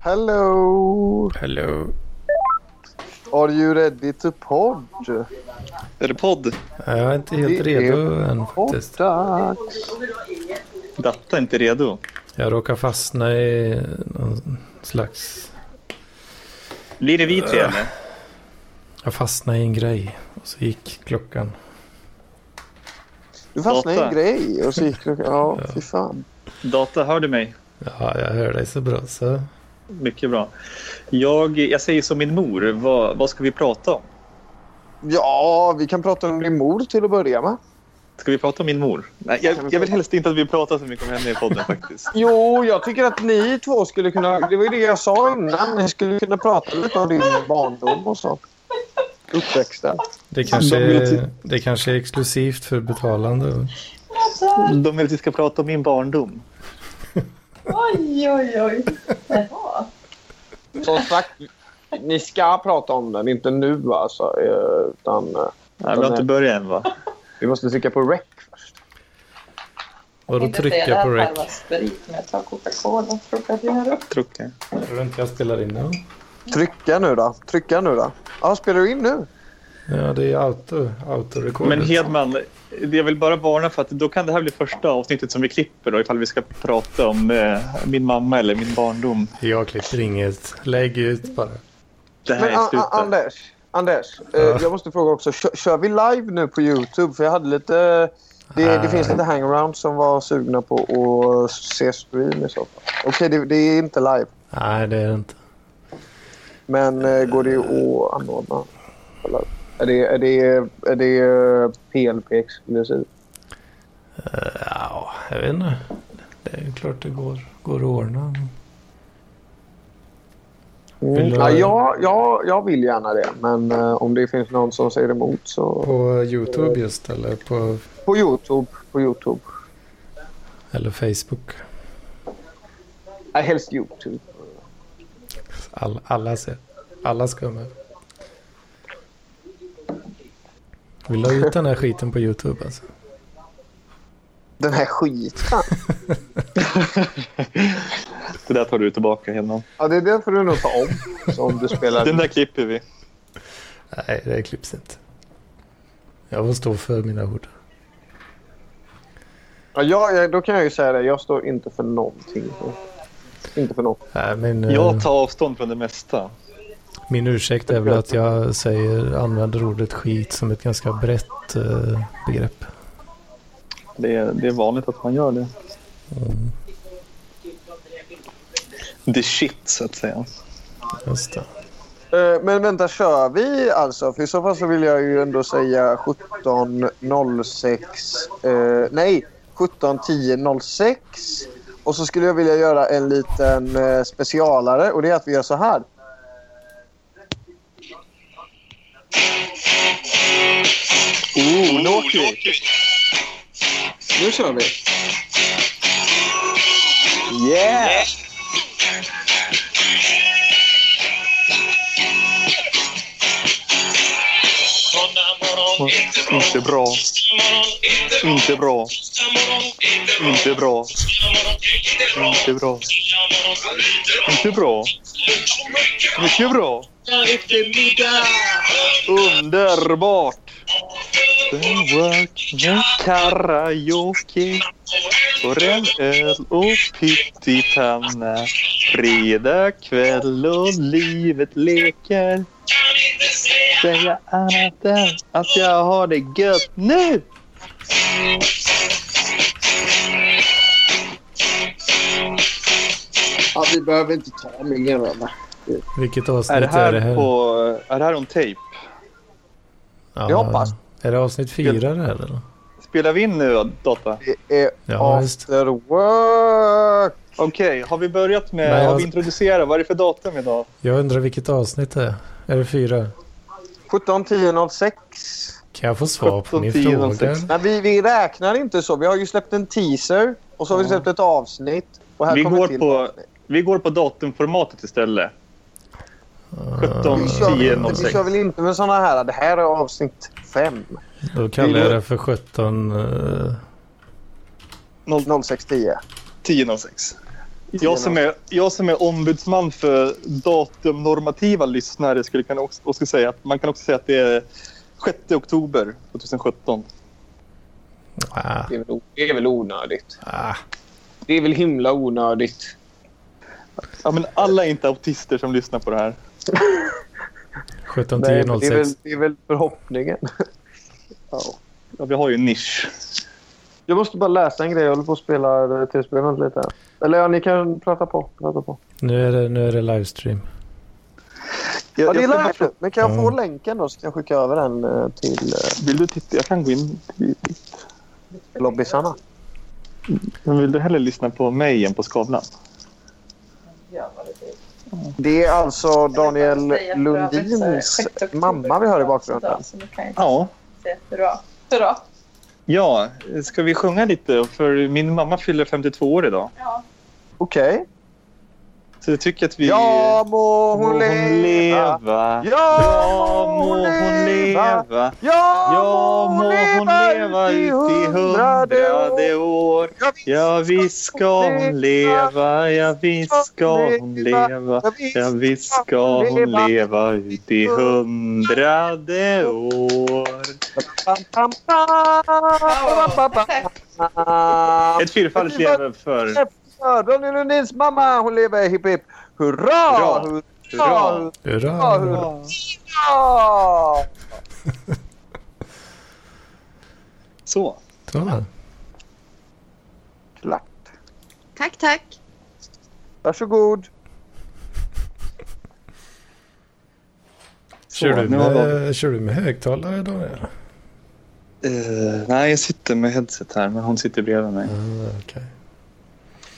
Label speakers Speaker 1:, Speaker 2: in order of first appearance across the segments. Speaker 1: Hello!
Speaker 2: Hello.
Speaker 1: Are you ready to pod?
Speaker 3: Är det podd?
Speaker 2: Jag är inte helt
Speaker 1: Det är
Speaker 2: redo än faktiskt.
Speaker 1: Poddags!
Speaker 3: Datta är inte redo.
Speaker 2: Jag råkar fastna i någon slags...
Speaker 3: Blir det vi tre eller?
Speaker 2: Jag fastnade i en grej och så gick klockan.
Speaker 1: Du fastnade i en
Speaker 3: Data.
Speaker 1: grej och så gick du... Ja, fy fan.
Speaker 3: Data, hör du mig?
Speaker 2: Ja, jag hör dig så bra så.
Speaker 3: Mycket bra. Jag, jag säger som min mor, vad, vad ska vi prata om?
Speaker 1: Ja, vi kan prata om din mor till att börja med.
Speaker 3: Ska vi prata om min mor? Nej, jag, jag vill helst inte att vi pratar så mycket om henne i podden faktiskt.
Speaker 1: Jo, jag tycker att ni två skulle kunna... Det var ju det jag sa innan. Ni skulle kunna prata lite om din barndom och så. Uppväxt där.
Speaker 2: Det kanske,
Speaker 3: De
Speaker 2: är,
Speaker 3: vet-
Speaker 2: det kanske är exklusivt för betalande.
Speaker 4: Alltså,
Speaker 3: De vill att vi ska prata om min barndom.
Speaker 4: Oj, oj, oj. Jaha.
Speaker 1: Som sagt, ni ska prata om den. Inte nu alltså. eh, Utan eh,
Speaker 3: Nej, vi har inte börjat än va?
Speaker 1: vi måste trycka på rec först.
Speaker 2: Och då
Speaker 4: Inte säga det
Speaker 2: trycka
Speaker 4: här
Speaker 2: på rec.
Speaker 4: var sprit, men jag tar Coca-Cola Trocadero.
Speaker 3: Trucka.
Speaker 2: Tror du inte jag spelar in nu?
Speaker 1: Trycka nu då. Trycka nu då. Ja, spelar du in nu?
Speaker 2: Ja, det är auto, auto
Speaker 3: Men Hedman, jag vill bara varna för att då kan det här bli första avsnittet som vi klipper då, ifall vi ska prata om eh, min mamma eller min barndom.
Speaker 2: Jag klipper inget. Lägg ut bara.
Speaker 3: Det här
Speaker 1: Men
Speaker 3: är
Speaker 1: A- A-
Speaker 3: slutet.
Speaker 1: Anders, Anders eh,
Speaker 2: Ja.
Speaker 1: jag måste fråga också. Kör, kör vi live nu på Youtube? För jag hade lite... Det, det
Speaker 2: Nej.
Speaker 1: finns lite hangaround som var sugna på att se stream i så fall. Okej, det, det är inte live.
Speaker 2: Nej, det är det inte.
Speaker 1: Men eh, går det att anordna? Eller, är det, är det, är det eh, PLP exklusivt?
Speaker 2: Ja, jag vet inte. Det är ju klart det går, går att ordna.
Speaker 1: Mm.
Speaker 2: Vill du-
Speaker 1: Ja, jag, jag, jag vill gärna det. Men eh, om det finns någon som säger emot så...
Speaker 2: På YouTube just eller på
Speaker 1: På Youtube. På YouTube.
Speaker 2: eller Facebook.
Speaker 1: Nej, helst Youtube.
Speaker 2: All, alla ser. Alla ska med. Vi la ut den här skiten på YouTube alltså.
Speaker 1: Den här skiten.
Speaker 3: Det där tar du tillbaka Hedman.
Speaker 1: Ja, det är därför du nog tar om. Så om du spelar...
Speaker 3: Den där klipper vi.
Speaker 2: Nej, det klipps inte. Jag får stå för mina ord.
Speaker 1: Ja, jag, jag, då kan jag ju säga det. Jag står inte för någonting. Inte för något.
Speaker 2: Nej, min, eh,
Speaker 3: Jag tar avstånd från det mesta.
Speaker 2: min ursäkt är väl att jag säger, använder ordet skit som ett ganska brett eh, begrepp.
Speaker 3: Det är, det är vanligt att man gör det. The shit, så att säga.
Speaker 2: Just det.
Speaker 1: Eh, Men vänta, kör vi alltså? För i så fall så vill jag ju ändå säga 17.06... Eh, nej, 17.10.06. Och så skulle jag vilja göra en liten eh, specialare och det är att vi gör så här.
Speaker 3: Oh, nu åker vi!
Speaker 1: Nu kör vi.
Speaker 3: Yeah! Inte bra. Inte bra. Inte bra. Inte bra. Inte bra. Mycket bra. Underbart! Den working karaoke Får en öl och pyttipanna Fredag kväll och livet leker Säga annat än att jag har det gött nu!
Speaker 1: Ja, vi behöver inte ta min va?
Speaker 2: Vilket avsnitt
Speaker 3: Är det
Speaker 2: är det här?
Speaker 3: här, på, är det här on tape?
Speaker 2: Ja,
Speaker 1: Jag hoppas.
Speaker 2: Är det avsnitt fyra det här eller?
Speaker 3: Spelar vi in nu, Data?
Speaker 1: Det är
Speaker 2: Ja, visst.
Speaker 1: after work.
Speaker 3: Okej, har vi börjat med...
Speaker 2: Nej, alltså- jag-
Speaker 3: Har vi introducerat? Vad är det för datum idag?
Speaker 2: Jag undrar vilket avsnitt det är. Är det fyra?
Speaker 1: 17.10.06.
Speaker 2: Kan jag få svar på min
Speaker 3: 17, 10,
Speaker 2: fråga?
Speaker 3: 06.
Speaker 1: Nej, vi, vi räknar inte så. Vi har ju släppt en teaser och så har vi släppt ett avsnitt. Och här
Speaker 3: Vi
Speaker 1: kommer
Speaker 3: går,
Speaker 1: till
Speaker 3: på, vi går på datumformatet istället. 17,
Speaker 1: Vi kör, väl
Speaker 3: 10,
Speaker 1: inte, vi
Speaker 3: 06.
Speaker 1: kör väl inte med såna här. Det här är avsnitt fem.
Speaker 2: Då kallar
Speaker 3: Vill
Speaker 2: jag
Speaker 3: du-
Speaker 2: det för 17... eh,
Speaker 1: 0610.
Speaker 3: 10, 06. Jag som, är, jag som är ombudsman för datumnormativa lyssnare skulle kunna också, också säga att man kan också säga att det är 6 oktober 2017.
Speaker 2: Ah,
Speaker 5: Det är, väl, o- det är väl onödigt.
Speaker 2: ah.
Speaker 5: Det är väl himla onödigt.
Speaker 3: Ja, men alla är inte autister som lyssnar på det här.
Speaker 2: 17
Speaker 1: Nej,
Speaker 2: 10
Speaker 1: men
Speaker 2: 06.
Speaker 1: det, är väl, det är väl förhoppningen.
Speaker 3: Ja, vi har ju en nisch.
Speaker 1: Jag måste bara läsa en grej. Jag håller på att spela eh, tv-spelet lite. här. Eller ja, ni kan prata på. Prata på.
Speaker 2: Nu, är det, nu är det livestream.
Speaker 3: Jag,
Speaker 1: Ja, det
Speaker 3: jag ska bara-
Speaker 1: gillar jag. Men kan jag få
Speaker 2: Mm.
Speaker 1: länken då så kan jag skicka över den eh, till eh,
Speaker 3: Vill du titta? Jag kan gå in.
Speaker 1: lobbisarna.
Speaker 3: Men vill du hellre lyssna på mig än på Skavlan?
Speaker 4: Ja, vad det är.
Speaker 1: Det är alltså Daniel
Speaker 4: Jag kan bara säga för övrigt så här,
Speaker 1: Lundins
Speaker 4: 6 oktober
Speaker 1: mamma vi hör i bakgrunden.
Speaker 4: Så då kan jag inte
Speaker 3: Ja.
Speaker 4: säga hurra. Hurra.
Speaker 3: Ja, ska vi sjunga lite? För min mamma fyller 52 år idag.
Speaker 4: Ja.
Speaker 1: Okej.
Speaker 3: Så jag tycker att vi...
Speaker 1: Ja må
Speaker 3: må
Speaker 1: hon leva.
Speaker 3: leva.
Speaker 1: Ja må hon leva.
Speaker 3: Ja, må hon leva ut i hundrade år.
Speaker 1: Ja visst.
Speaker 3: Ja, visst ska hon leva. Ja, visst ska hon leva.
Speaker 1: Ja, visst.
Speaker 3: Ja, visst ska hon leva ut i hundrade år.
Speaker 1: Pam, pam, pam, pam, pam.
Speaker 3: Ett fyrfaldigt lever för...
Speaker 1: Ja, Daniel Lundins mamma, hon lever. Hipp hipp.
Speaker 3: Hurra.
Speaker 1: Hurra! Hurra!
Speaker 3: Hurra!
Speaker 2: Hurra! hurra.
Speaker 3: Ja.
Speaker 1: Hurra!
Speaker 3: Så.
Speaker 2: Så.
Speaker 1: Klart.
Speaker 6: Tack, tack.
Speaker 1: Varsågod.
Speaker 3: Så,
Speaker 2: Kör, du
Speaker 3: nu har vi-
Speaker 2: med, kör du med högtalare Daniel?
Speaker 3: Eh, nej, jag sitter med headset här, men hon sitter bredvid mig.
Speaker 2: Ah, okej.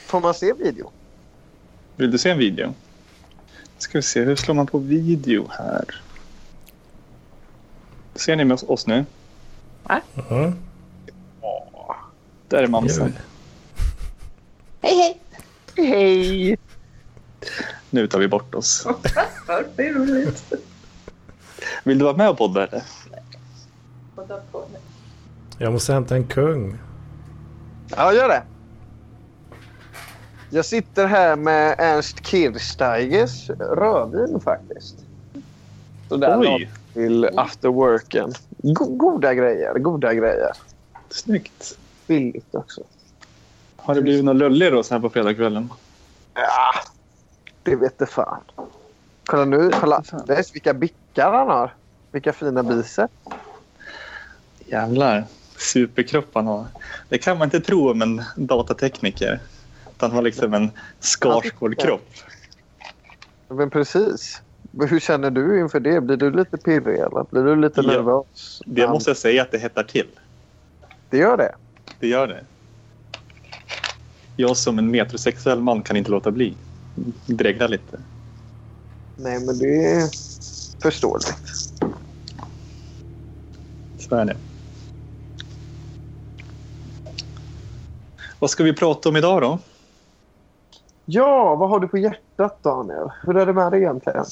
Speaker 1: Får man se video?
Speaker 3: Vill du se en video? Ska vi se, hur slår man på video här? Ser ni med oss nu?
Speaker 2: Mm.
Speaker 3: Där är mamsen.
Speaker 6: Hej, hej.
Speaker 1: Hej!
Speaker 3: Nu tar vi bort oss.
Speaker 4: För det är roligt.
Speaker 3: Vill du vara med och podda eller?
Speaker 4: Och då på-
Speaker 2: Jag måste hämta en kung.
Speaker 1: Ja, gör det. Jag sitter här med Ernst Kirchsteigers rödvin faktiskt. Så där
Speaker 3: Oj,
Speaker 1: till afterworken. Go- goda grejer, goda grejer.
Speaker 3: snyggt.
Speaker 1: Billigt också.
Speaker 3: Har det blivit något lullig då så här på fredagskvällen?
Speaker 1: Ja, det vet det fan. Kolla nu, kolla. Läs vilka bickar han har. Vilka fina biceps.
Speaker 3: Jävlar. Superkropp han har. Det kan man inte tro om en datatekniker. Att Han har liksom en skarsgård kropp.
Speaker 1: Men precis. Men Hur känner du inför det? Blir du lite pirrig eller blir du lite
Speaker 3: Ja.
Speaker 1: nervös?
Speaker 3: Det
Speaker 1: Men
Speaker 3: måste jag säga att det hettar till.
Speaker 1: det gör det.
Speaker 3: Det gör det. Jag som en metrosexuell man kan inte låta bli. Dregla lite.
Speaker 1: Nej, men det är förståeligt.
Speaker 3: Så är det. Vad ska vi prata om idag då?
Speaker 1: Ja, vad har du på hjärtat Daniel? Hur är det med dig egentligen?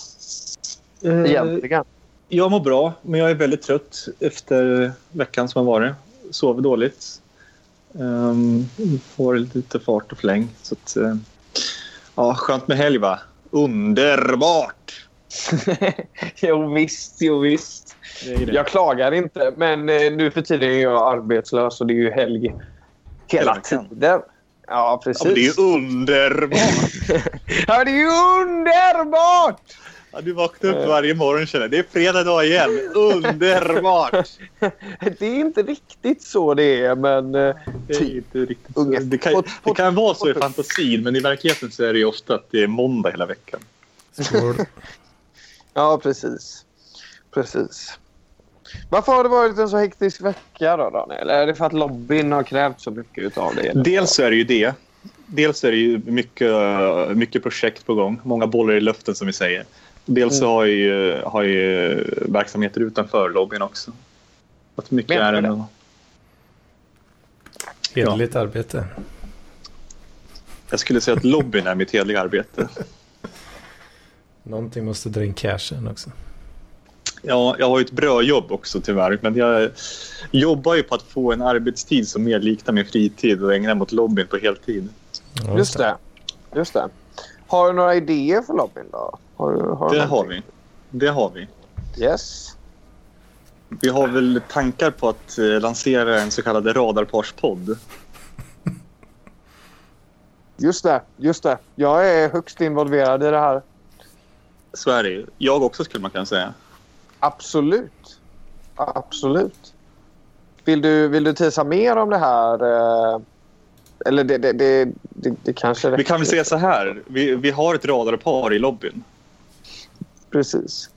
Speaker 1: Eh,
Speaker 3: Eh,
Speaker 1: Egentligen.
Speaker 3: Jag mår bra, men jag är väldigt trött efter veckan som har varit. Sov dåligt. Ehm, får lite fart och fläng. Så att, eh, ja, skönt med helg, va? Underbart!
Speaker 5: jo visst, jo visst.
Speaker 3: Det är det.
Speaker 5: Jag klagar inte, men eh, nu för tiden är jag arbetslös och det är ju helg hela
Speaker 3: Hela veckan.
Speaker 5: tiden. Ja,
Speaker 3: ja, men det är
Speaker 5: precis.
Speaker 3: ju underbart!
Speaker 5: Ja, det är ju underbart!
Speaker 3: Ja, du vaknar upp varje morgon känner jag. Det är fredag idag igen. Underbart!
Speaker 1: Det är inte riktigt så det är, men... eh,
Speaker 3: Det är inte riktigt så.
Speaker 1: Unge.
Speaker 3: Det kan, det kan vara så i fantasin, men i verkligheten så är det ju ofta att det är måndag hela veckan.
Speaker 2: Skål.
Speaker 1: Ja, precis. Precis. Varför har det varit en så hektisk vecka då, Daniel? Är det för att lobbyn har krävt så mycket av dig?
Speaker 3: Dels så är det ju det. Dels så är det ju mycket, mycket projekt på gång. Många bollar i luften som vi säger. Dels så har ju, har ju verksamheter utanför lobbyn också. Att mycket
Speaker 1: Menar
Speaker 3: är
Speaker 1: du det?
Speaker 3: ändå...
Speaker 2: Hederligt arbete.
Speaker 3: Jag skulle säga att lobbyn är mitt heliga arbete.
Speaker 2: Någonting måste dra in cashen också.
Speaker 3: Ja, jag har ju ett brödjobb också tyvärr. Men jag jobbar ju på att få en arbetstid som mer liknar min fritid och ägna mig åt lobbyn på heltid.
Speaker 2: Ja,
Speaker 1: Just det. Just det. Har du några idéer för lobbyn då? Har, du- har du
Speaker 3: Det
Speaker 1: någonting?
Speaker 3: har vi. Det har vi.
Speaker 1: Yes.
Speaker 3: Vi har väl tankar på att eh, lansera en så kallad radarparspodd.
Speaker 1: Just det, just det. Jag är högst involverad i det här.
Speaker 3: Så är det ju. Jag också skulle man kunna säga.
Speaker 1: Absolut. Absolut. Vill du, vill du tisa mer om det här? eh, Eller det, det, det, det, det kanske
Speaker 3: Vi kan väl
Speaker 1: räcker.
Speaker 3: säga så här. Vi, vi har ett radarpar i lobbyn.
Speaker 1: Precis.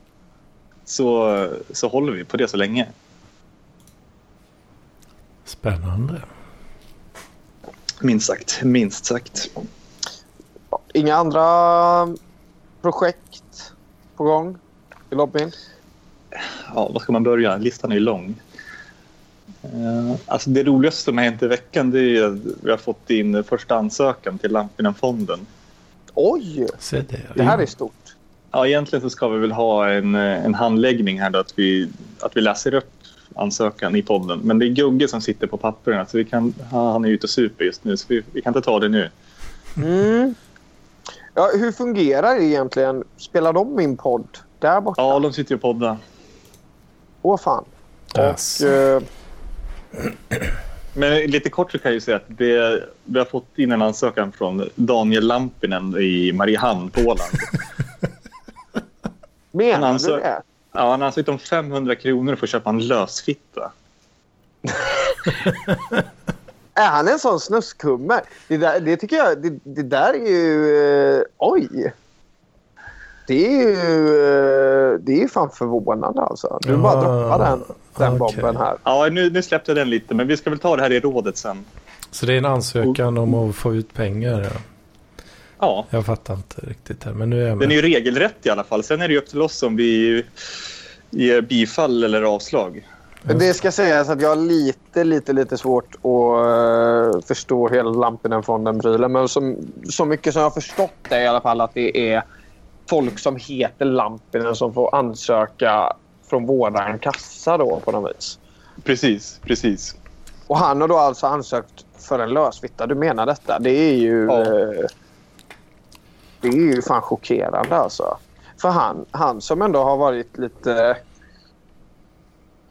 Speaker 3: Så, så håller vi på det så länge.
Speaker 2: Spännande.
Speaker 3: Minst sagt. Minst sagt.
Speaker 1: Inga andra projekt på gång i lobbyn?
Speaker 3: Ja, var ska man börja? Listan är ju lång. Eh, alltså det roligaste som har hänt i veckan det är ju att vi har fått in första ansökan till Lampinen-fonden.
Speaker 1: Oj!
Speaker 2: Se det.
Speaker 1: Det här är stort.
Speaker 3: Ja, egentligen så ska vi väl ha en, eh, en handläggning här då, att vi, att vi läser upp ansökan i podden. Men det är Gugge som sitter på papperna så vi kan, han han är ute och super just nu så vi, vi kan inte ta det nu.
Speaker 1: Mm. Ja, hur fungerar det egentligen? Spelar de min podd där borta?
Speaker 3: Ja, de sitter ju och poddar.
Speaker 1: Åh fan.
Speaker 2: Yes.
Speaker 1: Eh,
Speaker 3: Men lite kort så kan jag ju säga att det, vi har fått in en ansökan från Daniel Lampinen i Mariehamn på Åland.
Speaker 1: Menar
Speaker 3: Men alltså-
Speaker 1: du det?
Speaker 3: Ja, han har ansökt om 500 kronor för att köpa en lösfitta.
Speaker 1: Är han en sån snuskkummer? Det, där, det tycker jag... Det, det där är ju... eh, oj! Det är ju... eh, det är fan förvånande alltså. Du bara
Speaker 2: Ah,
Speaker 1: droppar den, den
Speaker 2: okej.
Speaker 1: bomben här.
Speaker 3: Ja, nu, nu släppte jag den lite, men vi ska väl ta det här i rådet sen.
Speaker 2: Så det är en ansökan om att få ut pengar. Ja.
Speaker 3: Ja,
Speaker 2: Jag fattar inte riktigt här, men nu är jag
Speaker 3: den är
Speaker 2: med.
Speaker 3: ju regelrätt i alla fall. Sen är det ju upp till oss om vi ger bifall eller avslag.
Speaker 1: Men Det ska sägas att jag har lite, lite, lite svårt att eh, förstå hela Lampinen-fonden-prylen. Men som, så mycket som jag har förstått det är i alla fall att det är folk som heter Lampinen som får ansöka från våran kassa då på något vis.
Speaker 3: Precis, precis.
Speaker 1: Och han har då alltså ansökt för en lösvitta. Du menar detta? Det är ju...
Speaker 3: Ja.
Speaker 1: eh, det är ju fan chockerande alltså. För han, han som ändå har varit lite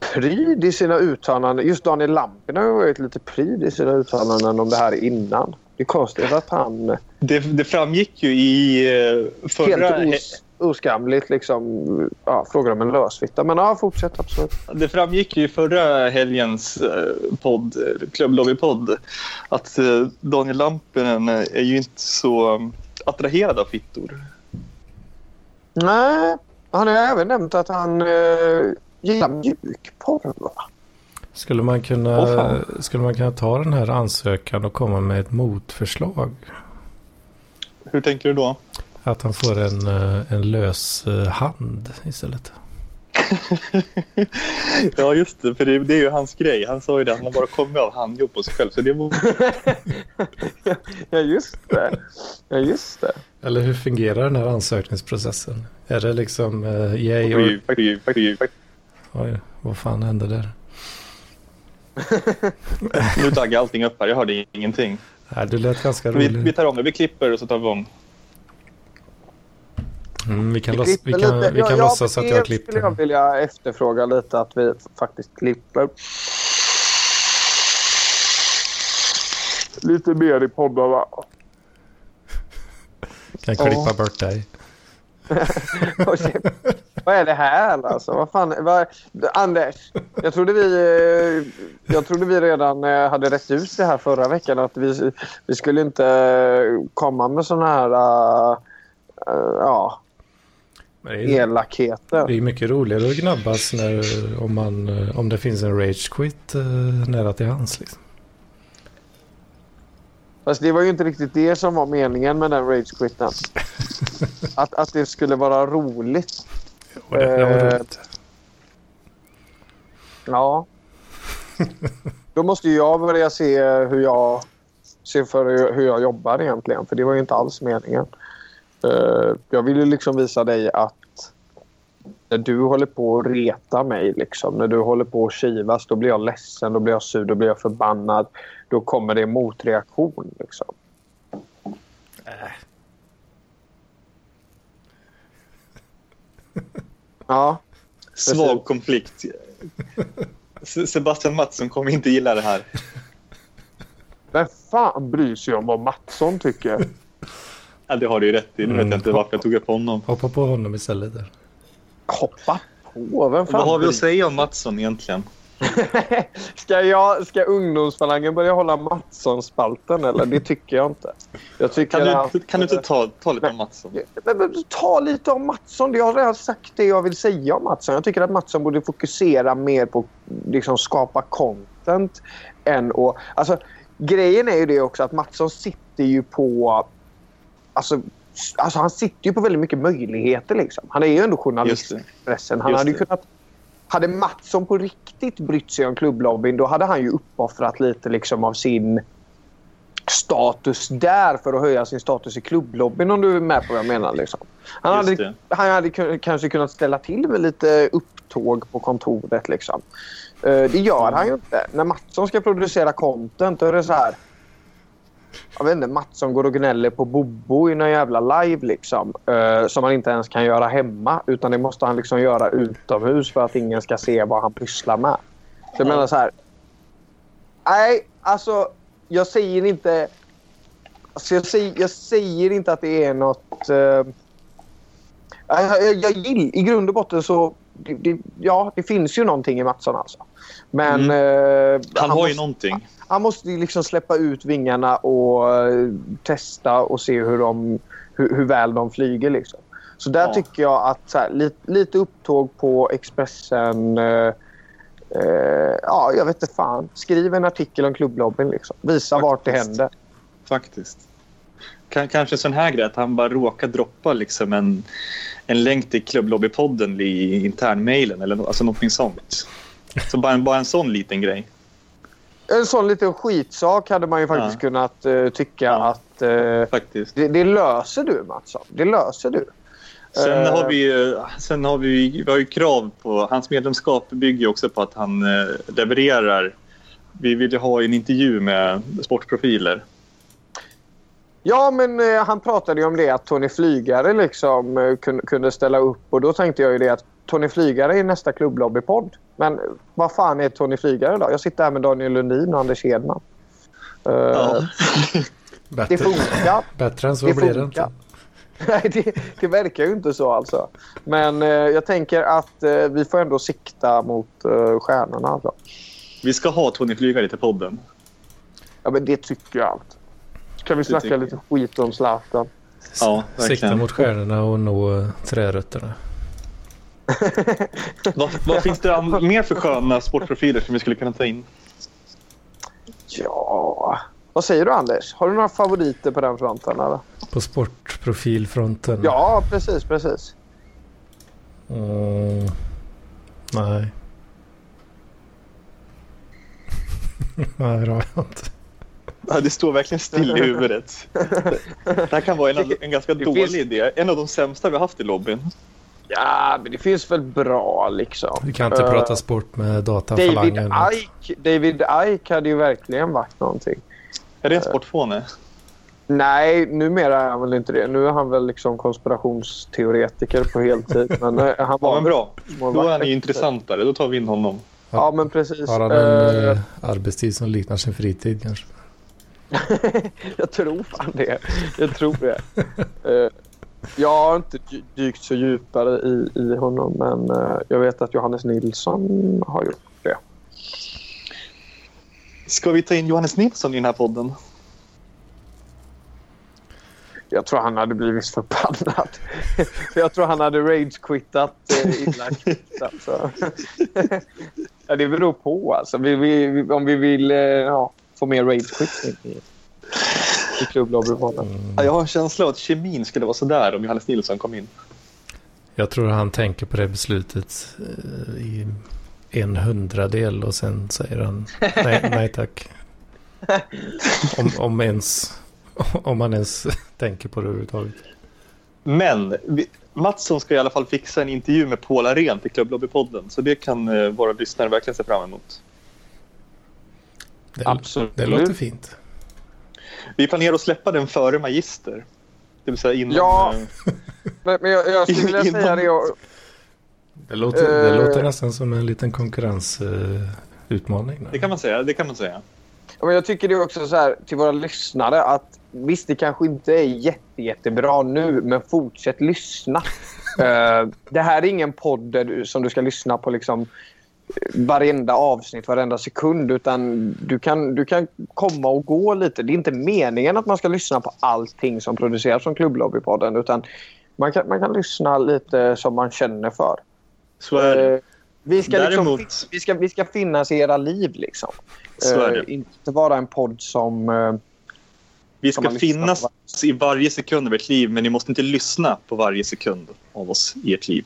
Speaker 1: eh, pryd i sina uttalanden. Just Daniel Lampinen har ju varit lite pryd i sina uttalanden om det här innan. Det är konstigt att han eh,
Speaker 3: Det, det framgick ju i eh, förra...
Speaker 1: helt os, oskamligt liksom, ja, frågar om en lösvitta. Men ja, fortsätt absolut.
Speaker 3: Det framgick ju i förra helgens eh, podd, eh, Club Lobby-podd att eh, Daniel Lampinen eh, är ju inte så um, attraherad av fittor.
Speaker 1: Nej, han har ju även nämnt att han eh, gillar mjukporr. va?
Speaker 2: Skulle man, kunna,
Speaker 3: Åh, fan.
Speaker 2: skulle man kunna ta den här ansökan och komma med ett motförslag?
Speaker 3: Hur tänker du då?
Speaker 2: Att han får en, eh, en lös eh, hand istället.
Speaker 3: Ja, just det. För det, det är ju hans grej. Han sa ju det. Han har bara kommit av handjobb på sig själv. Så det var...
Speaker 1: Ja, just det. Ja, just det.
Speaker 2: Eller hur fungerar den här ansökningsprocessen? Är det liksom eh, yay or...
Speaker 3: Oj, oj, oj, oj.
Speaker 2: Oj, vad fan hände där?
Speaker 3: Nu daggar allting upp här. Jag hörde ingenting.
Speaker 2: Nej, du lät ganska
Speaker 3: Vi, vi
Speaker 2: rolig.
Speaker 3: tar om det. Vi klipper och så tar vi om.
Speaker 2: Mm, vi kan,
Speaker 1: Vi
Speaker 2: låts, vi
Speaker 1: klipper
Speaker 2: kan,
Speaker 1: lite.
Speaker 2: vi
Speaker 1: Ja,
Speaker 2: kan
Speaker 1: ja,
Speaker 2: låtsas att
Speaker 1: det
Speaker 2: jag
Speaker 1: skulle jag
Speaker 2: klippte.
Speaker 1: vilja efterfråga lite att vi faktiskt klipper. Lite mer i poddarna.
Speaker 2: Kan klippa bort dig.
Speaker 1: Och se- vad är det här alltså? Vad fan? Vad, Anders, jag trodde, vi, eh, jag trodde vi redan eh, hade rätt ut det här förra veckan. Att vi, vi skulle inte eh, komma med såna här eh, eh, ja,
Speaker 2: Men det är-
Speaker 1: elakheter.
Speaker 2: Det är mycket roligare att gnabbas när, om, man, eh, om det finns en rage quit eh, nära till hands. Liksom.
Speaker 1: Fast det var ju inte riktigt det som var meningen med den ragequitten. Att, att det skulle vara roligt.
Speaker 2: Och det, det var
Speaker 1: Eh,
Speaker 2: roligt.
Speaker 1: Ja. Då måste ju jag börja se hur jag, se för hur jag jobbar egentligen. För det var ju inte alls meningen. Eh, jag ville liksom visa dig att när du håller på att reta mig, liksom, när du håller på att kivas, då blir jag ledsen, då blir jag sur, då blir jag förbannad. Då kommer det en motreaktion. Liksom. Ja,
Speaker 3: Svag konflikt. Se- Sebastian Mattsson kommer inte gilla det här.
Speaker 1: vem fan bryr sig om vad Mattsson tycker?
Speaker 3: Ja, det har du ju rätt i. Nu vet jag inte varför jag tog upp honom.
Speaker 2: Hoppa på honom istället där.
Speaker 1: Hoppa på, vem fan
Speaker 3: Vad har vi
Speaker 1: bryr
Speaker 3: att säga om Mattsson egentligen?
Speaker 1: Ska, jag, ska ungdomsfalangen börja hålla Mattsson-spalten eller? Det tycker jag inte. Jag tycker
Speaker 3: Kan
Speaker 1: att-
Speaker 3: du, kan du inte ta, ta lite om Mattsson?
Speaker 1: Men, men, ta lite om Mattsson. Jag har redan sagt det jag vill säga om Mattsson. Jag tycker att Mattsson borde fokusera mer på att liksom, skapa content än att... Alltså, grejen är ju det också att Mattsson sitter ju på... Alltså, s- alltså han sitter ju på väldigt mycket möjligheter. Liksom. Han är ju ändå
Speaker 3: Just
Speaker 1: journalist
Speaker 3: det.
Speaker 1: pressen. Han
Speaker 3: Just
Speaker 1: hade ju
Speaker 3: det.
Speaker 1: kunnat... Hade Mattsson på riktigt brytt sig om klubblobbyn då hade han ju uppoffrat lite liksom av sin status där för att höja sin status i klubblobbyn om du är med på vad jag menar. Liksom. Han,
Speaker 3: Just
Speaker 1: hade,
Speaker 3: det.
Speaker 1: han hade ku- kanske kunnat ställa till med lite upptåg på kontoret. Liksom. Eh, det gör han ju inte. När Mattsson ska producera content då är det så här... Jag vet inte, Mattsson går och gnäller på Bobo i någon jävla live liksom. eh, som han inte ens kan göra hemma. Utan det måste han liksom göra utomhus för att ingen ska se vad han pysslar med. Så jag menar så här. Nej, alltså jag säger inte... Alltså, jag, säger, jag säger inte att det är något... eh, jag, jag, jag gill, I grund och botten så... Det, det, ja, det finns ju någonting i Mattsson alltså. Men...
Speaker 3: Mm.
Speaker 1: eh,
Speaker 3: Han har ju
Speaker 1: måste-
Speaker 3: någonting.
Speaker 1: han måste ju liksom släppa ut vingarna och eh, testa och se hur, de, hur, hur väl de flyger. Liksom. Så där
Speaker 3: Ja.
Speaker 1: tycker jag att så här, lite, lite upptåg på Expressen. Eh, eh, ja, jag vet inte fan. Skriv en artikel om klubblobbyn. Liksom. Visa vart det
Speaker 3: Faktiskt.
Speaker 1: händer.
Speaker 3: Faktiskt. Kan, kanske en sån här grej att han bara råkar droppa liksom en, en länk till klubblobbypodden i internmailen eller nå- alltså någonting sånt. Så bara en, bara en sån liten grej.
Speaker 1: En sån liten skitsak hade man ju faktiskt
Speaker 3: Ja.
Speaker 1: kunnat eh, tycka
Speaker 3: Ja.
Speaker 1: att eh,
Speaker 3: Faktiskt.
Speaker 1: det, det löser du, Mattsson. Det löser du.
Speaker 3: Sen
Speaker 1: Eh.
Speaker 3: har vi ju, sen har vi, vi har ju krav på... Hans medlemskap bygger ju också på att han eh, levererar. Vi vill ju ha en intervju med sportprofiler.
Speaker 1: Ja, men eh, han pratade ju om det att Tony Flygare liksom, eh, kun, kunde ställa upp. Och Då tänkte jag ju det att Tony Flygare är nästa klubblobbypodd. Men eh, vad fan är Tony Flygare då? Jag sitter här med Daniel Lundin och Anders Hedman. Eh,
Speaker 3: Ja.
Speaker 1: Det
Speaker 2: Bättre,
Speaker 1: funkar.
Speaker 2: bättre än så
Speaker 1: det
Speaker 2: blir det
Speaker 1: funkar.
Speaker 2: inte.
Speaker 1: Nej, det, det verkar ju inte så alltså. Men eh, jag tänker att eh, vi får ändå sikta mot eh, stjärnorna. Alltså.
Speaker 3: Vi ska ha Tony Flygare till podden.
Speaker 1: Ja, men det tycker jag allt. Kan vi
Speaker 3: tycker
Speaker 1: snacka
Speaker 3: jag.
Speaker 1: lite skit om Zlatan?
Speaker 3: Ja,
Speaker 2: Sikta
Speaker 3: verkligen.
Speaker 2: mot stjärnorna och nå eh, trärötterna.
Speaker 3: Vad, vad finns det an- mer för sköna sportprofiler som vi skulle kunna ta in?
Speaker 1: Ja... Vad säger du, Anders? Har du några favoriter på den fronten? Eller?
Speaker 2: På sportprofilfronten.
Speaker 1: Ja, precis, precis.
Speaker 2: Mm, nej. nej, det har jag inte.
Speaker 3: Ja, det står verkligen still i huvudet. Det här kan vara en, av- en ganska
Speaker 1: Det
Speaker 3: dålig
Speaker 1: finns-
Speaker 3: idé. En av de sämsta vi har haft i lobbyn.
Speaker 1: Ja, men det finns väl bra liksom.
Speaker 2: Vi kan inte
Speaker 1: Eh,
Speaker 2: prata sport med
Speaker 1: David
Speaker 2: datafalangen.
Speaker 1: Ike, David Ike hade ju verkligen varit någonting.
Speaker 3: Är det en sportfåne?
Speaker 1: Nej, numera är han väl inte det. Nu är han väl liksom konspirationsteoretiker på heltid. Men eh, han var
Speaker 3: Ja, men bra.
Speaker 1: väl-
Speaker 3: Då är han ju intressantare. Då tar vi in honom.
Speaker 1: Ja, men precis.
Speaker 2: Har han en
Speaker 1: Eh,
Speaker 2: eh, arbetstid som liknar sin fritid kanske?
Speaker 1: jag tror fan det. Jag tror det. Eh, jag har inte dy- dykt så djupare i, i honom, men eh, jag vet att Johannes Nilsson har gjort det.
Speaker 3: Ska vi ta in Johannes Nilsson i den här podden?
Speaker 1: Jag tror han hade blivit förbannad. För jag tror han hade rage-quittat eh, innan quittat. Så. ja, det beror på alltså. Vi, vi, om vi vill eh, ja, få mer rage-quitting i, i
Speaker 2: Mm.
Speaker 1: klubblobbybollen.
Speaker 3: Ja, jag har en känsla av att kemin skulle vara sådär om Johannes Nilsson kom in.
Speaker 2: Jag tror han tänker på det beslutet eh, i en hundradel och sen säger han nej, nej tack. Om, om, ens, om man ens tänker på det överhuvudtaget.
Speaker 3: Men vi, Mattsson ska i alla fall fixa en intervju med Paul Arén till Klubblobbypodden. Så det kan eh, våra lyssnare verkligen se fram emot.
Speaker 2: Det,
Speaker 1: Absolut.
Speaker 2: det låter fint.
Speaker 3: Vi planerar att släppa den före Magister. Det vill säga innan...
Speaker 1: Ja.
Speaker 3: eh,
Speaker 1: Men, men jag, jag skulle vilja
Speaker 3: Innan-
Speaker 1: säga det. Jag,
Speaker 2: Det låter, det
Speaker 1: Eh.
Speaker 2: låter nästan som en liten konkurrensutmaning. eh,
Speaker 3: Det kan man säga. Det kan man säga.
Speaker 1: Ja, Men jag tycker det är också så här till våra lyssnare att visst, det kanske inte är jätte, jättebra nu, men fortsätt lyssna. Eh, det här är ingen podd där du, som du ska lyssna på liksom eh, varenda avsnitt, varenda sekund, utan du kan, du kan komma och gå lite. Det är inte meningen att man ska lyssna på allting som produceras från Klubblobbypodden, utan man kan, man kan lyssna lite som man känner för.
Speaker 3: Så är det.
Speaker 1: Eh, Vi ska, liksom,
Speaker 3: Däremot-
Speaker 1: vi, ska, vi ska finnas i era liv. Liksom.
Speaker 3: Så är
Speaker 1: Eh,
Speaker 3: det.
Speaker 1: Inte vara en podd som... eh,
Speaker 3: Vi
Speaker 1: kan
Speaker 3: ska
Speaker 1: man lyssna på
Speaker 3: finnas i varje sekund av ert liv, men ni måste inte lyssna på varje sekund av oss i ert liv.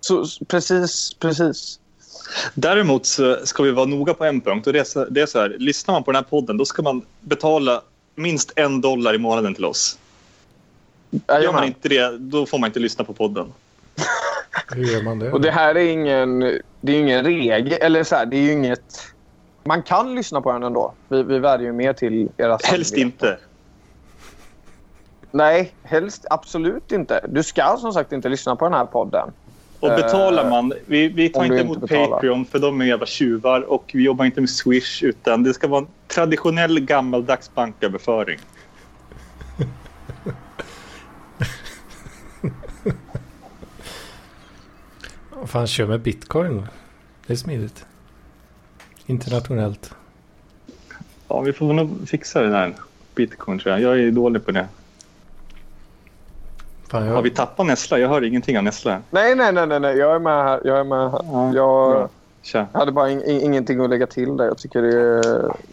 Speaker 1: så, s- precis, precis.
Speaker 3: Däremot så ska vi vara noga på en punkt. Och det, är så, det är så här, lyssnar man på den här podden då ska man betala minst en dollar i månaden till oss. Gör man
Speaker 1: Jajamän.
Speaker 3: inte det, då får man inte lyssna på podden.
Speaker 2: Hur gör man det?
Speaker 1: Och det här är ingen, det är ingen regel. Eller så här, det är ju inget... Man kan lyssna på den ändå. Vi, vi värjer ju mer till era
Speaker 3: Helst
Speaker 1: samveten.
Speaker 3: inte.
Speaker 1: Nej, helst absolut inte. Du ska som sagt inte lyssna på den här podden.
Speaker 3: Och betalar man... Vi, vi tar
Speaker 1: Eh, om du
Speaker 3: inte
Speaker 1: inte
Speaker 3: emot
Speaker 1: betalar.
Speaker 3: Patreon, för de är jävla tjuvar. Och vi jobbar inte med Swish, utan det ska vara en traditionell gammaldags banköverföring.
Speaker 2: Fan, kör med bitcoin. Det är smidigt. Internationellt.
Speaker 3: Ja, vi får nog fixa det där. Bitcoin, tror jag. Jag är dålig på det.
Speaker 2: Fan,
Speaker 3: Har
Speaker 2: jag,
Speaker 3: vi tappat Nessla? Jag hör ingenting av Nessla.
Speaker 1: Nej, nej, nej. nej, nej. Jag är med här. Jag är med här.
Speaker 3: Ja,
Speaker 1: Jag
Speaker 3: bra. Tja.
Speaker 1: hade bara in, in, ingenting att lägga till där. Jag tycker det är,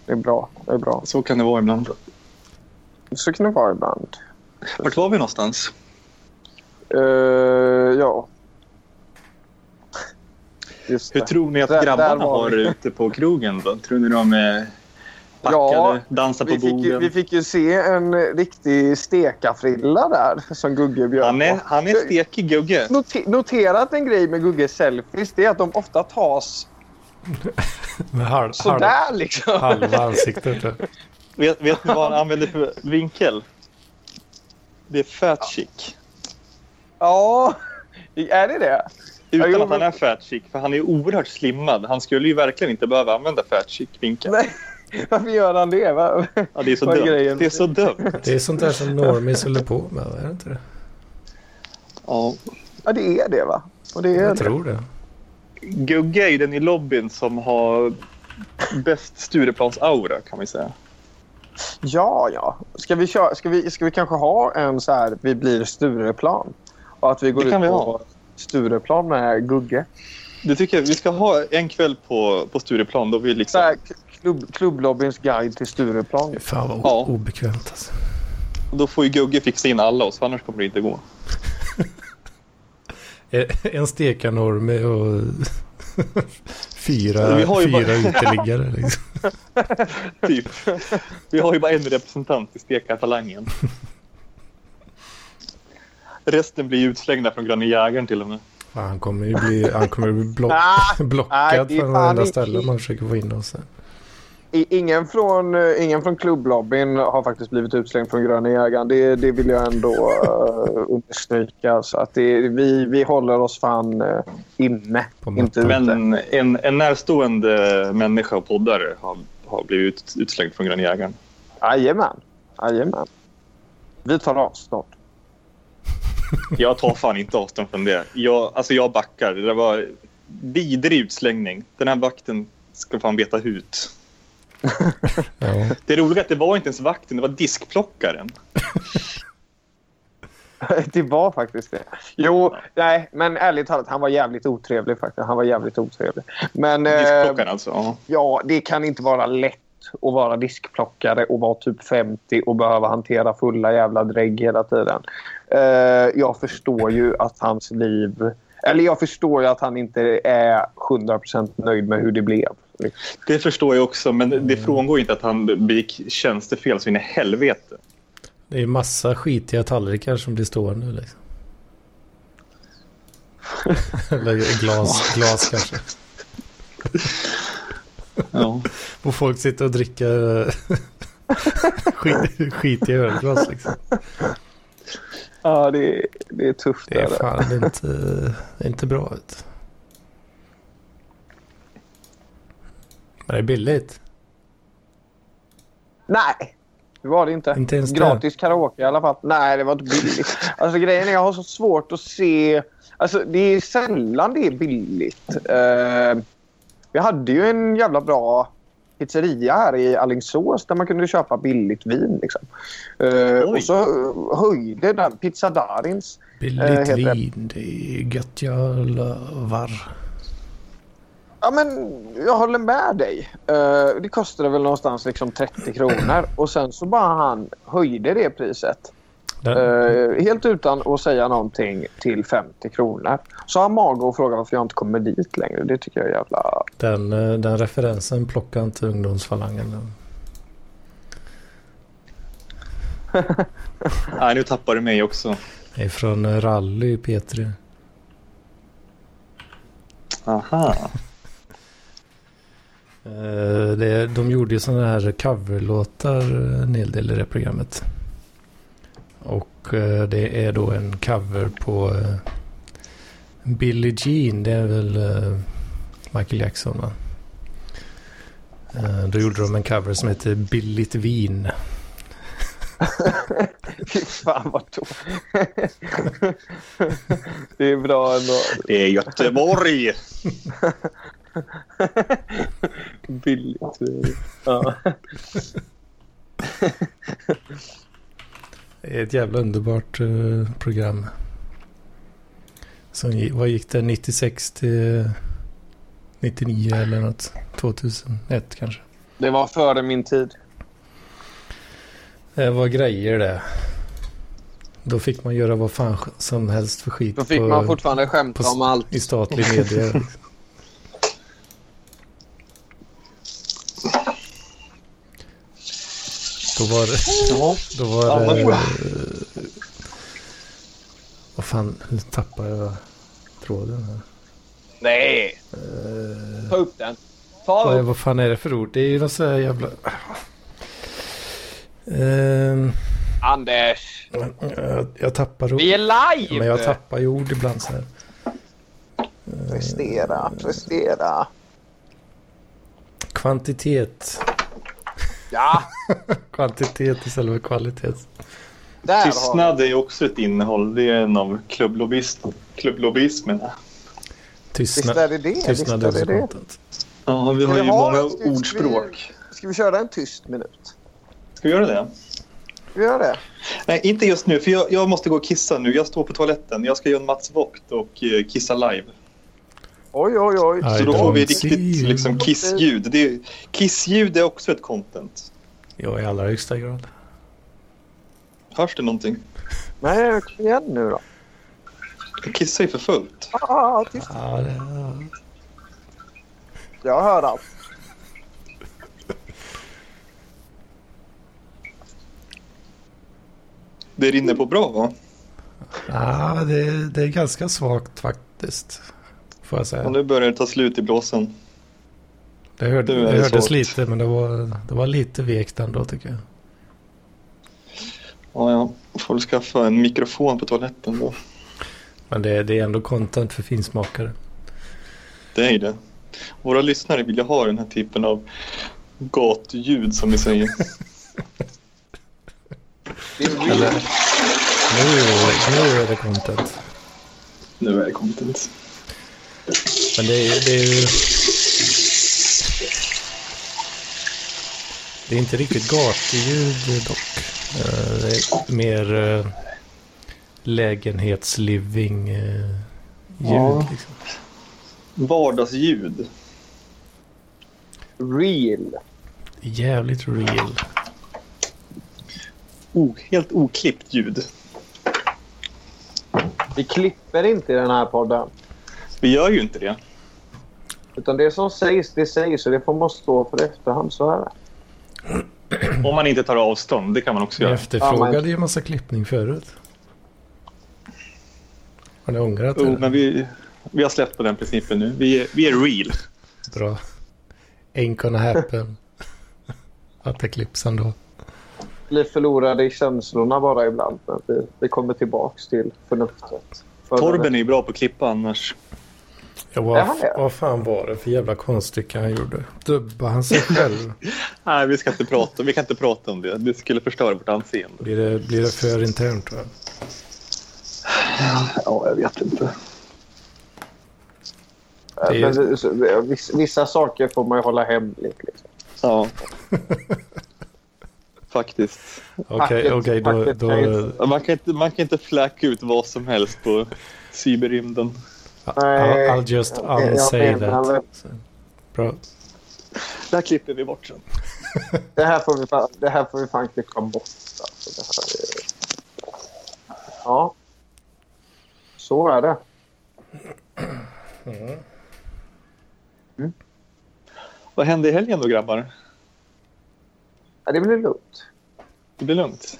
Speaker 1: det är bra. Det är bra.
Speaker 3: Så kan det vara ibland.
Speaker 1: Så kan det vara ibland.
Speaker 3: Vart var vi någonstans?
Speaker 1: Eh, ja. Just
Speaker 3: Hur
Speaker 1: det.
Speaker 3: tror ni att
Speaker 1: Där- där
Speaker 3: grabbarna
Speaker 1: var
Speaker 3: har
Speaker 1: vi.
Speaker 3: det ute på krogen? Då? Tror ni de är packade,
Speaker 1: Ja,
Speaker 3: dansar på
Speaker 1: Vi fick, ju,
Speaker 3: borden?
Speaker 1: vi fick ju se en riktig stekafrilla där som Gugge bjöd
Speaker 3: Han är,
Speaker 1: på.
Speaker 3: han är stekig gugge.
Speaker 1: Note- noterat en grej med Gugges selfies det är att de ofta tas
Speaker 2: med halv, halv,
Speaker 1: sådär liksom.
Speaker 2: halva ansiktet. Typ.
Speaker 3: Vet, vet ni vad han använder för vinkel? Det är fat chic.
Speaker 1: Ja, är det det?
Speaker 3: Utan
Speaker 1: jo,
Speaker 3: att han
Speaker 1: men-
Speaker 3: är fat chic, för han är oerhört slimmad. Han skulle ju verkligen inte behöva använda fat chic-vinkeln.
Speaker 1: Nej. Varför gör han det? Va?
Speaker 3: Ja, det är så
Speaker 1: Vad är
Speaker 3: dumt.
Speaker 1: grejen?
Speaker 3: Det är så dumt.
Speaker 2: Det är sånt där som normies håller på med, är det inte det?
Speaker 3: Ja.
Speaker 1: Ja, det är det va? Och det är
Speaker 2: Jag
Speaker 1: det.
Speaker 2: tror det.
Speaker 3: Gugge är ju den i lobbyn som har bäst Stureplans-aura, kan vi säga.
Speaker 1: Ja, ja. Ska vi, köra, ska, vi, ska vi kanske ha en så här Vi blir Stureplan? Och att vi går
Speaker 3: Det kan
Speaker 1: ut
Speaker 3: vi
Speaker 1: på
Speaker 3: ha.
Speaker 1: Stureplan med Gugge.
Speaker 3: Det tycker jag. Vi ska ha en kväll på, på Stureplan då vi
Speaker 1: Så
Speaker 3: liksom...
Speaker 1: här, klubb, Klubblobbyns guide till Stureplan.
Speaker 2: Fan vad o-
Speaker 3: Ja.
Speaker 2: obekvämt alltså.
Speaker 3: Då får ju Gugge fixa in alla oss, för annars kommer det inte gå.
Speaker 2: Eh, En stekanormie och fyra,
Speaker 3: Vi har ju
Speaker 2: fyra
Speaker 3: bara-
Speaker 2: uteliggare. Liksom.
Speaker 3: Typ. Vi har ju bara en representant i stekarfalangen. Resten blir utslängda från Gröna Jägaren till och med.
Speaker 2: Fan, han kommer ju bli, han kommer ju bli block,
Speaker 1: Ah, nej,
Speaker 2: blockad
Speaker 1: det är
Speaker 2: från
Speaker 1: fan
Speaker 2: varenda
Speaker 1: inte-
Speaker 2: ställe man försöker få in oss. i.
Speaker 1: I- Ingen från, eh, ingen från klubblobbyn har faktiskt blivit utslängd från Gröna jägaren. Det, det vill jag ändå eh, understryka. Så att det, vi, vi håller oss fan eh, inne,
Speaker 2: På
Speaker 1: inte ute.
Speaker 2: mattan.
Speaker 3: Men en, en närstående människa och poddare har, har blivit ut, utslängd från Gröna Jägaren.
Speaker 1: Jajamän. Jajamän. Vi tar avstånd.
Speaker 3: Jag tar fan inte avstånd från det. Jag, alltså jag backar. Det där var vidrig utslängning. Den här vakten ska fan veta hut.
Speaker 2: Ja.
Speaker 3: Det roliga är att det var inte ens vakten, det var diskplockaren.
Speaker 1: Det var faktiskt det. Jo, nej, men ärligt talat, han var jävligt otrevlig faktiskt. Han var jävligt otrevlig. Men eh,
Speaker 3: Diskplockaren alltså. ja.
Speaker 1: ja, det kan inte vara lätt att vara diskplockare och vara typ 50 och behöva hantera fulla jävla drägg hela tiden. Eh, jag förstår ju att hans liv... Eller jag förstår ju att han inte är 100% nöjd med hur det blev.
Speaker 3: Det förstår jag också, men det frångår inte att han begick tjänstefel så in i helvete.
Speaker 2: Det är ju massa skitiga tallrikar som blir stående nu liksom. Eller glas, glas kanske.
Speaker 3: Ja.
Speaker 2: Och folk sitter och dricker eh, skit, skitiga ölglas liksom.
Speaker 1: Ja, det, det är tufft.
Speaker 2: Det är
Speaker 1: där.
Speaker 2: fan inte, det är inte bra. Vet. du. Men det är billigt.
Speaker 1: Nej, det var det inte.
Speaker 2: Inte ens det.
Speaker 1: Gratis karaoke i alla fall. Nej, det var inte billigt. Alltså grejen är jag har så svårt att se... Alltså det är sällan det är billigt. Eh, vi hade ju en jävla bra pizzeria här i Alingsås där man kunde köpa billigt vin. Liksom. Eh,
Speaker 3: Oj.
Speaker 1: och så höjde den, Pizza Darins. Eh,
Speaker 2: Billigt
Speaker 1: heter det.
Speaker 2: vin, det är gött jag lovar.
Speaker 1: Ja, men jag håller med dig. Eh, det kostade väl någonstans liksom 30 kronor och sen så bara han höjde det priset.
Speaker 2: Den,
Speaker 1: Eh, helt utan att säga någonting till 50 kronor. Så har Mago och frågar varför jag inte kommer dit längre. Det tycker jag är jävla...
Speaker 2: den, eh, den referensen plockar inte ungdomsfalangen.
Speaker 3: Nej, nu tappar du mig också.
Speaker 2: Det är från eh, rally i P3.
Speaker 3: Aha.
Speaker 2: Eh, Det, de gjorde ju sådana här coverlåtar eh, en hel del i det programmet. Och eh, det är då en cover på eh, Billie Jean. Det är väl eh, Michael Jackson va? Eh, Då gjorde de en cover som heter Billigt vin.
Speaker 1: Fy fan vad tom. det är bra ändå.
Speaker 3: Det är Göteborg!
Speaker 1: Billigt.
Speaker 2: Det är ett jävla underbart eh, program. Som, gi- vad gick det? 96 till 99 eller något? 2001 kanske?
Speaker 1: Det var före min tid.
Speaker 2: Det var grejer det. Då fick man göra vad fan som helst för skit
Speaker 1: Då fick
Speaker 2: på,
Speaker 1: man fortfarande
Speaker 2: på,
Speaker 1: skämta om allt.
Speaker 2: i statlig media. Då var det... Då var det... Vad fan, nu tappade jag tråden här.
Speaker 1: Nej! Ta upp den. Ta
Speaker 2: Eh. Vad,
Speaker 1: upp.
Speaker 2: vad fan är det för ord? Det är ju något sådär jävla... Ehm,
Speaker 1: Anders!
Speaker 2: jag, jag tappar ord.
Speaker 1: Vi är live!
Speaker 2: Men jag tappar ju ord ibland så här.
Speaker 1: Prestera, prestera.
Speaker 2: Kvantitet.
Speaker 1: Ja,
Speaker 2: Kvantitet istället för kvalitet.
Speaker 1: där har
Speaker 3: Tystnad är också ett innehåll. Det är en av klubblobbyist- klubblobbyismen.
Speaker 1: Visst är
Speaker 2: Tystnad.
Speaker 1: det det. Visst
Speaker 2: Tystnad
Speaker 1: är det
Speaker 2: är
Speaker 1: det.
Speaker 2: också det.
Speaker 3: Ja, vi har
Speaker 1: vi
Speaker 3: ju
Speaker 1: ha
Speaker 3: många
Speaker 1: en skriftlig-
Speaker 3: ordspråk.
Speaker 1: Ska vi köra en tyst minut?
Speaker 3: Ska vi göra det?
Speaker 1: Ska vi göra det?
Speaker 3: Nej, inte just nu. För jag, jag måste gå och kissa nu. Jag står på toaletten. Jag ska göra en Mats Vogt och eh, kissa live.
Speaker 1: Oj, oj, oj.
Speaker 2: Ja. I
Speaker 3: Så då får vi
Speaker 2: don't see
Speaker 3: riktigt
Speaker 2: you.
Speaker 3: liksom, kissljud. Det är, kissljud är också ett content.
Speaker 2: Ja, i allra högsta grad.
Speaker 3: Hörs det någonting?
Speaker 1: Nej, kom igen nu då.
Speaker 3: Jag kissar ju för fullt.
Speaker 1: Ah, tyst.
Speaker 2: Ja, det är...
Speaker 1: Jag hör allt.
Speaker 3: Det rinner på bra, va?
Speaker 2: Ja, det, är- det är ganska svagt faktiskt. Får jag
Speaker 3: Och
Speaker 2: säga.
Speaker 3: nu börjar det ta slut i blåsen.
Speaker 2: Det, hörde,
Speaker 3: nu är
Speaker 2: det
Speaker 3: det
Speaker 2: hördes
Speaker 3: svårt.
Speaker 2: lite, men det var, det var lite vekt ändå tycker jag.
Speaker 3: Ja, jag får väl skaffa en mikrofon på toaletten då.
Speaker 2: Men det, det är ändå content för finsmakare.
Speaker 3: Det är ju det. Våra lyssnare vill ju ha den här typen av gatljud som vi säger.
Speaker 1: Det är weird.
Speaker 2: Nu, är det- nu är det content.
Speaker 3: nu är det content.
Speaker 2: Men det är, det är ju... Det är inte riktigt gatuljud dock. Eh, Det är mer eh, lägenhetsliving-ljud.
Speaker 3: Ja.
Speaker 2: eh, Liksom.
Speaker 3: Vardagsljud.
Speaker 1: Real.
Speaker 2: Jävligt real.
Speaker 3: O- helt oklippt ljud.
Speaker 1: Vi klipper inte i den här podden.
Speaker 3: Vi gör ju inte det.
Speaker 1: Utan det som sägs, det sägs och det får man stå för i efterhand. Så här.
Speaker 3: Om man inte tar avstånd, det kan man också
Speaker 2: Vi
Speaker 3: göra.
Speaker 2: efterfrågade ju en massa klippning förut. Har ni ångrat
Speaker 3: Jo,
Speaker 2: det?
Speaker 3: men vi, vi har släppt på den principen nu. Vi, är- vi är real.
Speaker 2: Bra. Ain't gonna happen. Att det klipps ändå.
Speaker 1: Blir förlorade i känslorna bara ibland. Men vi, vi kommer tillbaks till förnuftet. För
Speaker 3: Torben är ju bra på att klippa annars.
Speaker 2: Ja,
Speaker 1: Det var det.
Speaker 2: vad, vad fan var det för jävla konststycke han gjorde? Dubba han sig själv?
Speaker 3: Nej, vi ska inte prata, vi kan inte prata om det. Det skulle förstöra vårt anseende.
Speaker 2: Blir det, blir det för internt? Va?
Speaker 3: Ja, jag vet inte.
Speaker 1: Eh,
Speaker 2: Det är-
Speaker 1: Men, det- så- det- viss- vissa saker får man ju hålla hemligt. Liksom.
Speaker 3: Ja. Faktiskt.
Speaker 2: Okej,
Speaker 1: Packet-
Speaker 2: okej, då,
Speaker 1: packet
Speaker 2: då...
Speaker 1: case.
Speaker 3: Ja, Man kan, inte, man kan inte fläka ut vad som helst på cyberrymden.
Speaker 1: Nej.
Speaker 2: I'll, I'll just
Speaker 1: Jag- jag
Speaker 2: unsay
Speaker 1: menar väl-
Speaker 2: that. Bra.
Speaker 3: Det här klipper vi bort sen.
Speaker 1: Det här får vi fan, det här får vi fan klippa bort. Alltså, det här är... Ja. Så är det.
Speaker 3: Vad hände i helgen då grabbar?
Speaker 1: Ja, det blir lugnt.
Speaker 3: Det blir lugnt.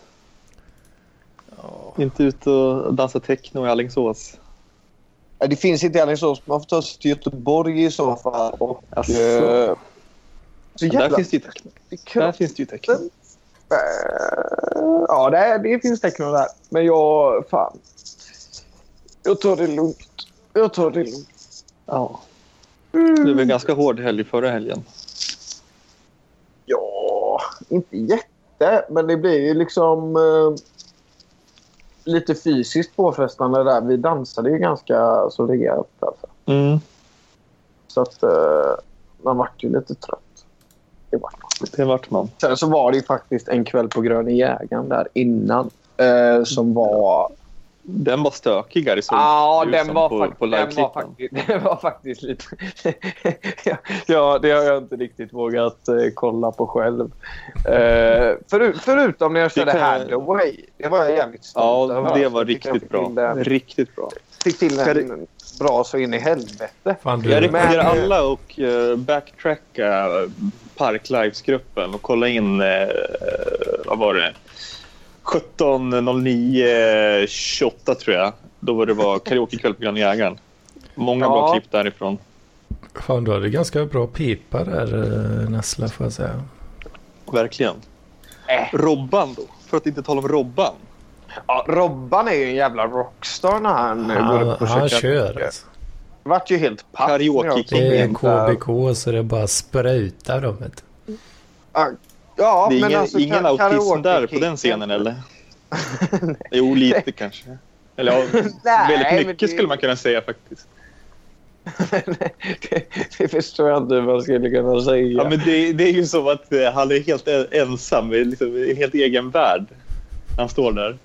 Speaker 3: Inte ut och dansa techno i Alingsås.
Speaker 1: Ja, det finns inte i Alingsås. Man får ta sig till Göteborg i så fall. Och,
Speaker 3: Alltså.
Speaker 1: eh, så
Speaker 3: Där
Speaker 1: jävla
Speaker 3: finns det ju techno. Där
Speaker 1: kul.
Speaker 3: finns det ju techno.
Speaker 1: Eh, Ja, det, det finns techno där. Men jag... Fan. Jag tar det lugnt. Jag tar det lugnt.
Speaker 3: Ja. Det var en ganska hård helg förra helgen.
Speaker 1: Ja, inte jätte, men det blir ju liksom eh, lite fysiskt påfrestande där. Vi dansade ju ganska så rejält. Alltså.
Speaker 3: Mm.
Speaker 1: Så att eh, man vart ju lite trött. Det vart man.
Speaker 3: Det vart man.
Speaker 1: Sen så var det ju faktiskt en kväll på Gröna Jägaren där innan eh, som var...
Speaker 3: Den var stökigare såg
Speaker 5: Ja,
Speaker 3: det ut
Speaker 5: den
Speaker 3: som
Speaker 5: var,
Speaker 3: på,
Speaker 5: fak-
Speaker 3: på
Speaker 5: den, var
Speaker 3: liveklippen.
Speaker 5: faktiskt, den var faktiskt lite... ja, det har jag inte riktigt vågat eh, kolla på själv. Eh, föru- förutom när jag körde
Speaker 3: kan-
Speaker 5: Hathaway. Det var jag jävligt stolt
Speaker 3: Ja,
Speaker 5: över.
Speaker 3: det var
Speaker 1: Jag tycker jag
Speaker 3: riktigt bra.
Speaker 1: fick till det.
Speaker 3: Riktigt bra.
Speaker 1: Fick till
Speaker 3: Ska
Speaker 1: en bra så in i helvete.
Speaker 2: Fan,
Speaker 3: Jag
Speaker 2: du,
Speaker 3: rekommenderar
Speaker 1: Men-
Speaker 3: alla och eh, backtracka Parklives-gruppen och kolla in, eh, vad var det, 17.09.28 tror jag. Då var det var karaokekväll på Gröna Jägaren. Många bra
Speaker 1: Ja.
Speaker 3: klipp därifrån.
Speaker 2: fan, du hade ganska bra pipa där, eh, Nessla, får jag säga.
Speaker 3: Verkligen.
Speaker 1: Äh.
Speaker 3: Robban då, för att inte tala om Robban.
Speaker 1: Ja, Robban är ju en jävla rockstar när han, eh, går
Speaker 2: Han,
Speaker 1: upp och
Speaker 2: han
Speaker 1: käkar.
Speaker 2: kör alltså.
Speaker 1: vart ju helt paff. när jag
Speaker 3: Karaoke.
Speaker 1: kom
Speaker 2: Det är
Speaker 1: in där.
Speaker 2: KBK så det bara sprutar dem. vet du.
Speaker 1: Ah, Ja,
Speaker 3: Det är
Speaker 1: men
Speaker 3: ingen,
Speaker 1: alltså,
Speaker 3: ingen
Speaker 1: ka-
Speaker 3: autism
Speaker 1: karaoke-
Speaker 3: där på den scenen eller? jo, lite kanske. Eller ja,
Speaker 1: Nej, men
Speaker 3: väldigt
Speaker 1: det-
Speaker 3: mycket skulle man kunna säga faktiskt.
Speaker 1: det, det förstår jag inte hur man skulle kunna säga.
Speaker 3: Ja, men det, det är ju som att eh, han är helt en- ensam i liksom, i en helt egen värld. när Han står där.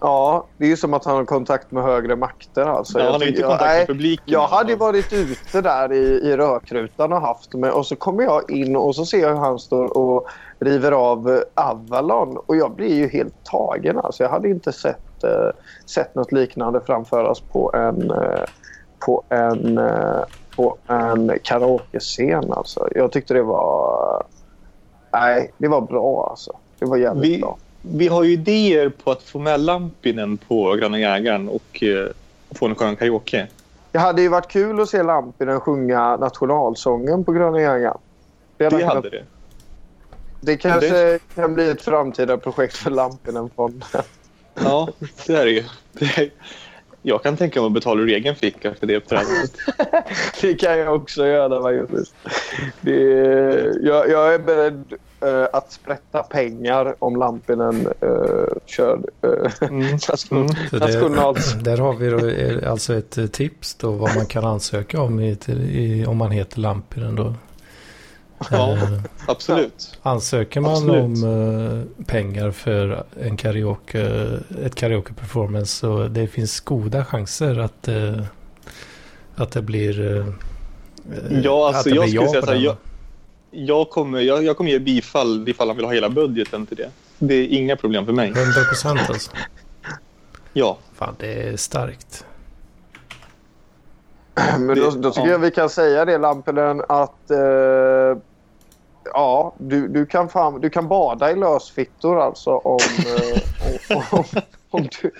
Speaker 1: Ja, det är ju som att han har kontakt med högre makter. Alltså.
Speaker 3: Men
Speaker 1: Jag
Speaker 3: han har ju
Speaker 1: tycker-
Speaker 3: inte kontakt
Speaker 1: nej,
Speaker 3: med publiken.
Speaker 1: Jag hade ju varit ute där i, i rökrutan och haft mig och så kommer jag in och så ser jag hur han står och river av eh, Avalon och jag blir ju helt tagen. Alltså. Jag hade inte sett, eh, sett något liknande framföras på en, eh, på en, eh, på en karaokescen. Alltså. Jag tyckte det var... Nej, det var bra alltså. Det var jävligt
Speaker 3: Vi-
Speaker 1: bra.
Speaker 3: Vi har ju idéer på att få med Lampinen på Gröna Jägaren och eh, få en skön karaoke.
Speaker 1: Det hade ju varit kul att se Lampinen sjunga nationalsången på Gröna Jägaren.
Speaker 3: Det
Speaker 1: kunnat-
Speaker 3: hade det.
Speaker 1: det kanske kan bli ett framtida projekt för Lampinen-fonden.
Speaker 3: Ja, det är det ju. Det är... Jag kan tänka mig att betala ur egen ficka för det uppträdandet.
Speaker 1: Det kan jag också göra faktiskt. Det är, jag, jag är beredd eh, att sprätta pengar om Lampinen eh, kör eh,
Speaker 2: Så
Speaker 1: nationals...
Speaker 2: det, där har vi då eh, alltså ett eh, tips då vad man kan ansöka om i, till- i, om man heter Lampinen då.
Speaker 3: Ja.
Speaker 2: Eh,
Speaker 3: Absolut.
Speaker 2: Ansöker man
Speaker 3: Absolut.
Speaker 2: om eh, pengar för en karaoke, ett karaoke-performance så det finns goda chanser att, eh, att det blir... eh, eh,
Speaker 3: Ja, alltså,
Speaker 2: att det
Speaker 3: jag
Speaker 2: blir
Speaker 3: skulle säga
Speaker 2: på
Speaker 3: så här,
Speaker 2: den.
Speaker 3: jag- Jag kommer, jag, jag kommer ge bifall ifall han vill ha hela budgeten till det. Det är inga problem för mig.
Speaker 2: 100% alltså.
Speaker 3: Ja,
Speaker 2: Fan, det är starkt.
Speaker 1: Men då, då tycker
Speaker 3: Ja.
Speaker 1: jag vi kan säga det, Lampinen, att... Eh, ja, du, du, kan fan, du kan bada i lösfittor alltså om... Eh, om, om, om du,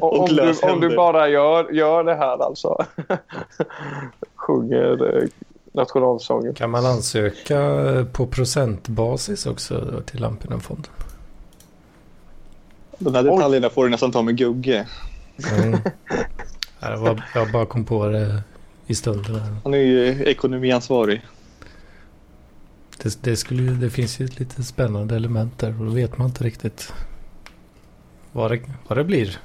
Speaker 3: Och
Speaker 1: om, om, du, om
Speaker 3: löshänder.
Speaker 1: du bara gör, gör det här alltså. Sjunger eh, nationalsången.
Speaker 2: Kan man ansöka eh, på procentbasis också till Lampinenfonden?
Speaker 3: de här detaljerna får du nästan ta med Gugge.
Speaker 2: Mm. Jag, var, jag bara kom på det i stunden. Här.
Speaker 3: Han är ju ekonomiansvarig.
Speaker 2: Det, det, skulle ju, det finns ju ett lite spännande element där och då vet man inte riktigt vad det, vad det blir.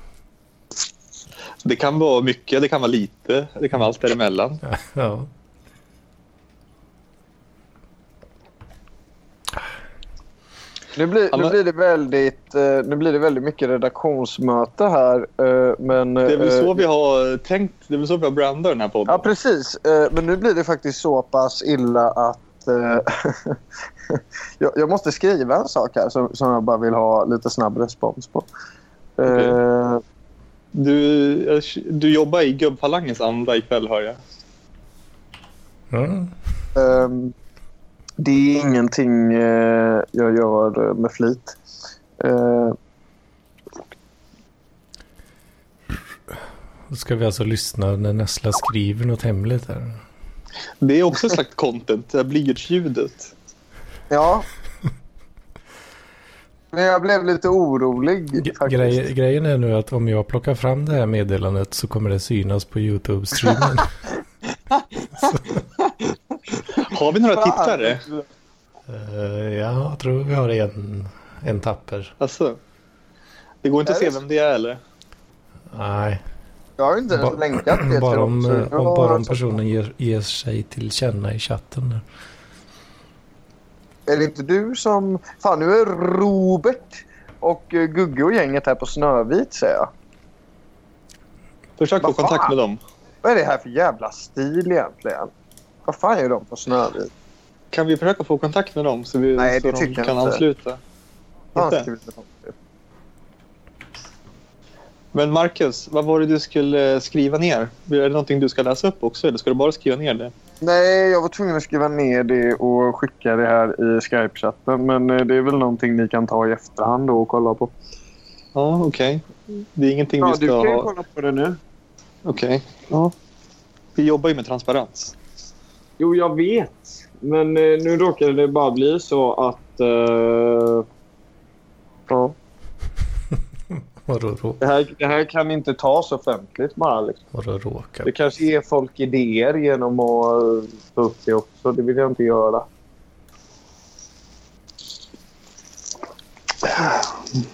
Speaker 3: Det kan vara mycket, det kan vara lite, det kan vara allt
Speaker 1: Eh,
Speaker 3: däremellan.
Speaker 2: Ja.
Speaker 1: Nu blir, nu blir, det, väldigt, eh, nu blir det väldigt mycket redaktionsmöte här. eh, Men,
Speaker 3: det är väl så vi har tänkt, det är väl så vi har brandat den här podden.
Speaker 1: eh, Ja, precis. Eh, Men nu blir det faktiskt så pass illa att eh, jag, jag, måste skriva en sak här som, som jag bara vill ha lite snabb respons på. Okay. Uh,
Speaker 3: du, du jobbar i gubbfalangens anda ikväll, hör jag.
Speaker 2: Mm.
Speaker 1: Um, det är ingenting uh, jag gör med flit. Uh,
Speaker 2: Då ska vi alltså lyssna när Nessla skriver något hemligt här.
Speaker 3: Det är också ett slags content, det här blyertsljudet.
Speaker 1: Ja. Men jag blev lite orolig faktiskt.
Speaker 2: Grej, grejen är nu att om jag plockar fram det här meddelandet så kommer det synas på YouTube-streamen.
Speaker 3: har vi några tittare?
Speaker 2: Uh, ja, jag tror vi har en, en tapper.
Speaker 3: Alltså, det går inte att se vem det är eller?
Speaker 2: Nej,
Speaker 1: jag har inte ens länkat det.
Speaker 2: Bara om, eh, om, bara
Speaker 1: alltså-
Speaker 2: om personen ger, ger sig till känna i chatten.
Speaker 1: Är det inte du som... Fan, nu är Robert och eh, Gugge och gänget här på Snövit, säger jag.
Speaker 3: Försök få kontakt med dem.
Speaker 1: Vad är det här för jävla stil egentligen? Vad fan gör de på Snövit?
Speaker 3: Kan vi försöka få kontakt med dem så, vi,
Speaker 1: Nej,
Speaker 3: så
Speaker 1: det tycker
Speaker 3: de kan
Speaker 1: jag inte.
Speaker 3: ansluta?
Speaker 1: Fan,
Speaker 3: Inte?
Speaker 1: ska vi inte ha det?
Speaker 3: Men Marcus, vad var det du skulle eh, skriva ner? Är det någonting du ska läsa upp också eller ska du bara skriva ner det?
Speaker 1: Nej, jag var tvungen att skriva ner det och skicka det här i Skype-chatten. Men eh, det är väl någonting ni kan ta i efterhand då och kolla på.
Speaker 3: Ja, okej. Det är ingenting vi
Speaker 1: Ja,
Speaker 3: ska
Speaker 1: du kan ju
Speaker 3: ha.
Speaker 1: kolla på det nu.
Speaker 3: Okej. Ja. Vi jobbar ju med transparens.
Speaker 5: Jo, jag vet. Men eh, nu råkade det bara bli så att... eh,
Speaker 1: Ja.
Speaker 2: Vadå rå,
Speaker 1: Det, här, det här kan inte tas offentligt bara. Liksom.
Speaker 2: vadå råka?
Speaker 1: Det kanske ger folk idéer genom att eh, ta upp det också. Det vill jag inte göra.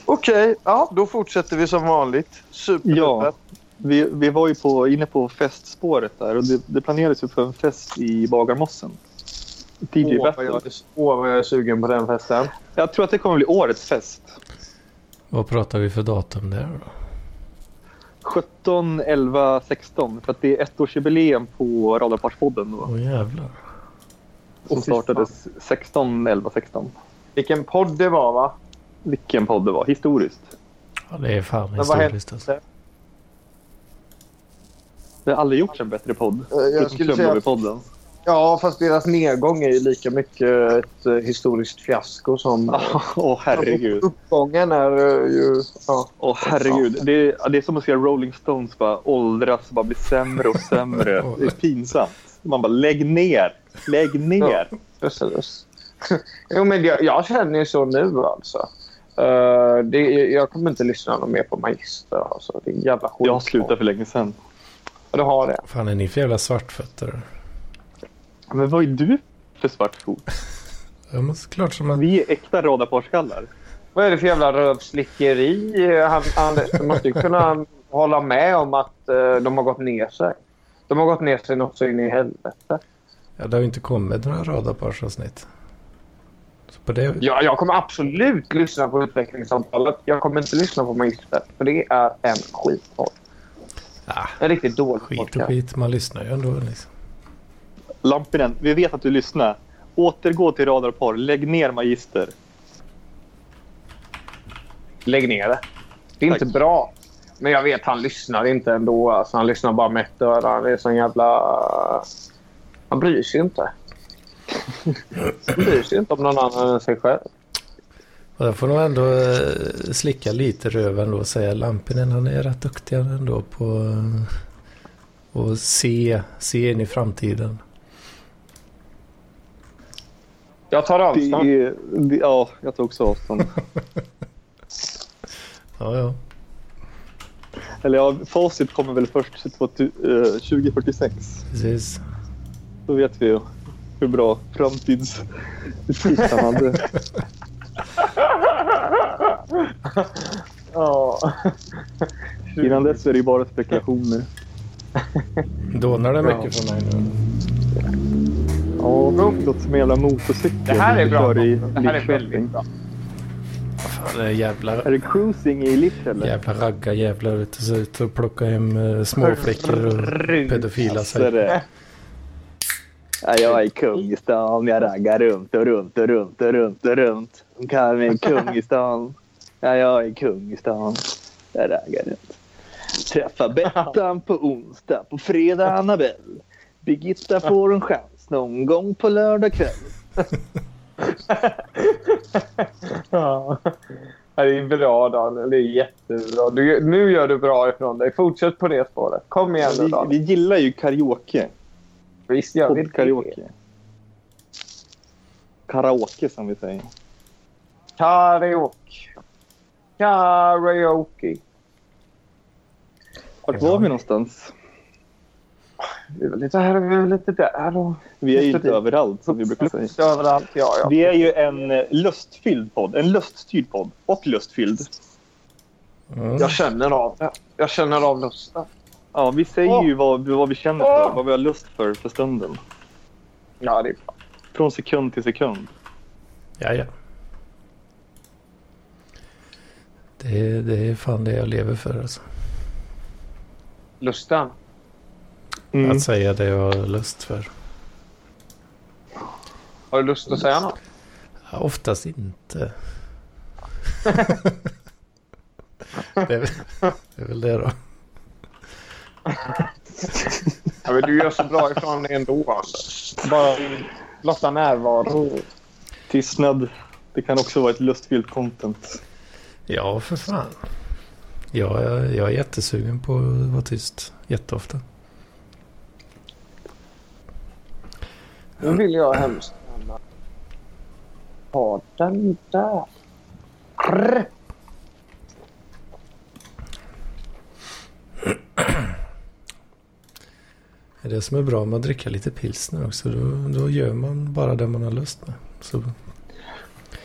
Speaker 1: Okej, ja, då fortsätter vi som vanligt. Superduper.
Speaker 3: Ja. Vi, vi var ju på, inne på festspåret där och det, det planerades ju för en fest i Bagarmossen. DJ
Speaker 1: Åh, vad
Speaker 3: Battle.
Speaker 1: jag, åh, vad jag är sugen på den festen.
Speaker 3: Jag tror att det kommer bli årets fest.
Speaker 2: Vad pratar vi för datum där då?
Speaker 3: 17, 11, 16. För att det är ettårsjubileum på Radarparspodden då.
Speaker 2: Åh jävlar.
Speaker 3: Som startades 16, 11, 16.
Speaker 1: Vilken podd det var, va?
Speaker 3: Vilken podd det var. Historiskt.
Speaker 2: Ja, det är fan
Speaker 1: vad hände?
Speaker 2: historiskt alltså.
Speaker 3: Det har aldrig gjorts en bättre podd.
Speaker 1: Eh, jag
Speaker 3: Förutom
Speaker 1: skulle säga...
Speaker 3: Flumlobby-podden.
Speaker 1: Ja, fast deras nedgång är ju lika mycket ett eh, historiskt fiasko som...
Speaker 3: Åh herregud.
Speaker 1: Uppgången är eh, ju... Ja.
Speaker 3: Åh herregud. Det är, ja, det är som att se Rolling Stones bara åldras och bara bli sämre och sämre. Det är pinsamt. Man bara lägg ner. Lägg ner.
Speaker 1: Precis. jo, men jag, jag känner ju så nu alltså. Eh, det, jag kommer inte lyssna någon mer på Magister. Alltså. Det är en jävla skit.
Speaker 3: Jag har slutat för länge sedan.
Speaker 1: Ja, Du har det.
Speaker 2: Fan är ni för jävla svartfötter?
Speaker 3: Men vad är du för svart fot?
Speaker 2: Ja men såklart som man...
Speaker 3: Vi är äkta radarparskallar.
Speaker 1: Vad är det för jävla rövslickeri? Han, han måste ju kunna hålla med om att eh, de har gått ner sig. De har gått ner sig något så in i helvete.
Speaker 2: Ja, det har ju inte kommit några radarparsavsnitt. Så på det...
Speaker 1: Ja, jag kommer absolut lyssna på utvecklingssamtalet. Jag kommer inte lyssna på Magister, för det är en skitpodd.
Speaker 2: Ah,
Speaker 1: En riktigt dålig
Speaker 2: skit och
Speaker 1: podcast.
Speaker 2: skit, man lyssnar ju ändå liksom.
Speaker 3: Lampinen, vi vet att du lyssnar. Återgå till radarpar. Lägg ner magister.
Speaker 1: Lägg ner det. Det är
Speaker 3: Tack.
Speaker 1: inte bra. Men jag vet, han lyssnar inte ändå. Alltså, han lyssnar bara med ett öra. Han är sån jävla... Han bryr sig inte. Han bryr sig inte om någon annan än sig själv.
Speaker 2: Och jag får nog ändå eh, slicka lite röven då och säga Lampinen han är rätt duktig ändå på eh, att se, se in i framtiden.
Speaker 1: Jag tar
Speaker 3: Det
Speaker 1: avstånd.
Speaker 3: är, det, ja, jag tar också avstånd.
Speaker 2: Ja, ja.
Speaker 3: Eller ja, facit kommer väl först eh, 2046.
Speaker 2: Precis.
Speaker 3: Då vet vi ju hur bra framtids... han hade.
Speaker 1: Ja.
Speaker 3: Innan dess är det ju bara spekulationer.
Speaker 2: Dånar det
Speaker 1: Bra.
Speaker 2: mycket för mig nu?
Speaker 3: Ja, det låter som en jävla motorcykel.
Speaker 1: Det här är
Speaker 3: vi
Speaker 1: bra.
Speaker 3: kör i
Speaker 1: Det här är
Speaker 3: Linköping.
Speaker 1: väldigt bra.
Speaker 2: Fan, det är jävla,
Speaker 3: Är det cruising i Lift eller?
Speaker 2: jävla ragga jävlar vet du, så ut och plocka hem eh, småflickor och pedofila
Speaker 3: Så
Speaker 2: sig.
Speaker 3: Alltså, det... Ja, jag är kung i stan. Jag raggar runt och runt och runt och runt och runt. De kallar mig kung i stan. Ja, jag är kung i stan. Jag raggar runt. Träffar Bettan på onsdag, på fredag Annabelle. Birgitta får en chans någon gång på lördag kväll.
Speaker 1: Ja. Det är bra Daniel. Det är jättebra. Du, nu gör du bra ifrån dig. Fortsätt på det spåret. Kom igen nu Daniel.
Speaker 3: gillar ju karaoke.
Speaker 1: Visst gör vi det.
Speaker 3: Karaoke som vi säger.
Speaker 1: Karaoke. Karaoke.
Speaker 3: Vart var vi någonstans?
Speaker 1: Vi är väl lite här och vi är väl lite där. Och...
Speaker 3: Vi är ju
Speaker 1: Just
Speaker 3: inte
Speaker 1: det.
Speaker 3: överallt som vi brukar säga.
Speaker 1: Lite Överallt, ja. ja.
Speaker 3: Det är ju en eh, lustfylld podd. En luststyrd podd. Och lustfylld.
Speaker 2: Mm.
Speaker 1: Jag känner av det. Jag känner av lusten.
Speaker 3: Ja, vi säger
Speaker 1: Åh!
Speaker 3: ju vad, vad vi känner
Speaker 1: Åh!
Speaker 3: för. Vad vi har lust för för stunden.
Speaker 1: Ja, det är bra.
Speaker 3: Från sekund till sekund.
Speaker 2: Ja, ja. Det, det är fan det jag lever för alltså.
Speaker 1: Lusten.
Speaker 3: Mm.
Speaker 2: Att säga det jag har lust för.
Speaker 1: Har du lust att säga något?
Speaker 2: Ja, oftast inte. det, är, väl- det är väl det då.
Speaker 1: Ja, men du gör så bra ifrån dig ändå. Alltså. Bara blotta närvaro.
Speaker 3: Tystnad. Det kan också vara ett lustfyllt content.
Speaker 2: Ja, för fan. Ja, jag, jag är jättesugen på att vara tyst. Jätteofta.
Speaker 1: Nu vill jag hemskt gärna ha den där. Krr.
Speaker 2: Det är det som är bra med att dricka lite pilsner också. Då, då gör man bara det man har lust med. Så,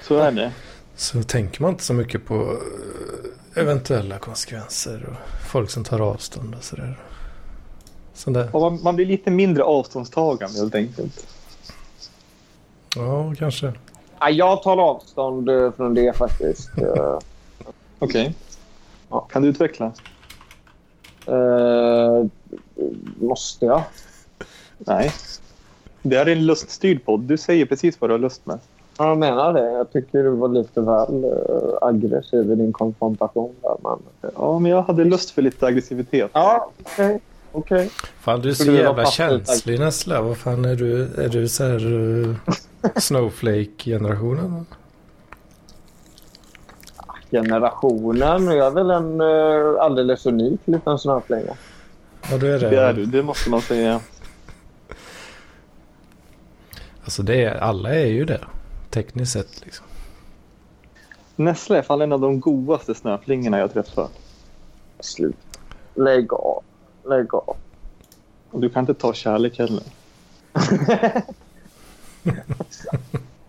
Speaker 3: Så är det.
Speaker 2: så tänker man inte så mycket på eh, eventuella konsekvenser och folk som tar avstånd och sådär. Sånt där.
Speaker 3: Och man, man blir lite mindre avståndstagande helt enkelt.
Speaker 2: Ja, kanske.
Speaker 1: Ja, jag tar avstånd eh, från det faktiskt. Eh,
Speaker 3: Okej. Ja, kan du utveckla?
Speaker 1: eh, måste jag?
Speaker 3: Nej. Det här är en luststyrd podd. Du säger precis vad du har lust med.
Speaker 1: Ja, Jag menar det. Jag tycker du var lite väl eh, aggressiv i din konfrontation. Där, men...
Speaker 3: Ja, men jag hade lust för lite aggressivitet.
Speaker 1: Ja, okej. okej.
Speaker 2: Fan, du är så
Speaker 1: Skulle det vara
Speaker 2: jävla
Speaker 1: fast uttag?
Speaker 2: känslig Nessla. Vad fan är du? Är du så här eh, Snowflake-generationen?
Speaker 1: Generationen. Jag är väl en eh, alldeles unik liten snöflinga.
Speaker 2: Ja, du är det.
Speaker 3: Det är du. Det måste man säga.
Speaker 2: Alltså, det är, alla är ju det. Tekniskt sett liksom.
Speaker 3: Nessla är fan en av de godaste snöflingorna jag träffat.
Speaker 1: Slut. Lägg av. Lägg av.
Speaker 3: Och du kan inte ta kärlek heller.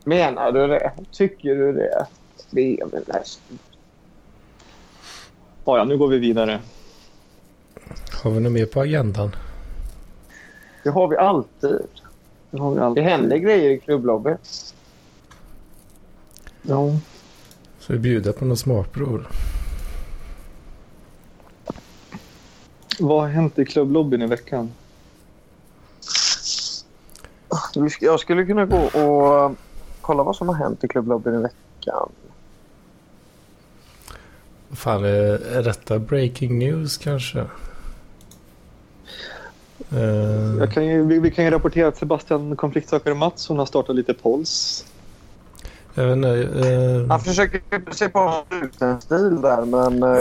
Speaker 1: Menar du det? Tycker du det? Det är väl nästan...
Speaker 3: Ah, ja, nu går vi vidare.
Speaker 2: Har vi något mer på agendan?
Speaker 1: Det har vi alltid.
Speaker 3: Nu har vi allt.
Speaker 1: Det händer grejer i klubblobbyn.
Speaker 3: Ja.
Speaker 2: Så vi bjuder på något smakprov.
Speaker 3: Vad har hänt i klubblobbyn i veckan?
Speaker 1: Jag skulle kunna gå och eh, kolla vad som har hänt i klubblobbyn i veckan.
Speaker 2: Vad Fan, är, är detta breaking news kanske? Eh,
Speaker 3: Jag kan ju, vi, vi kan ju rapportera att Sebastian Konfliktsökare Mattsson har startat lite polls.
Speaker 2: jag vet inte. eh,
Speaker 1: Han försöker sig på en stil där, men... eh,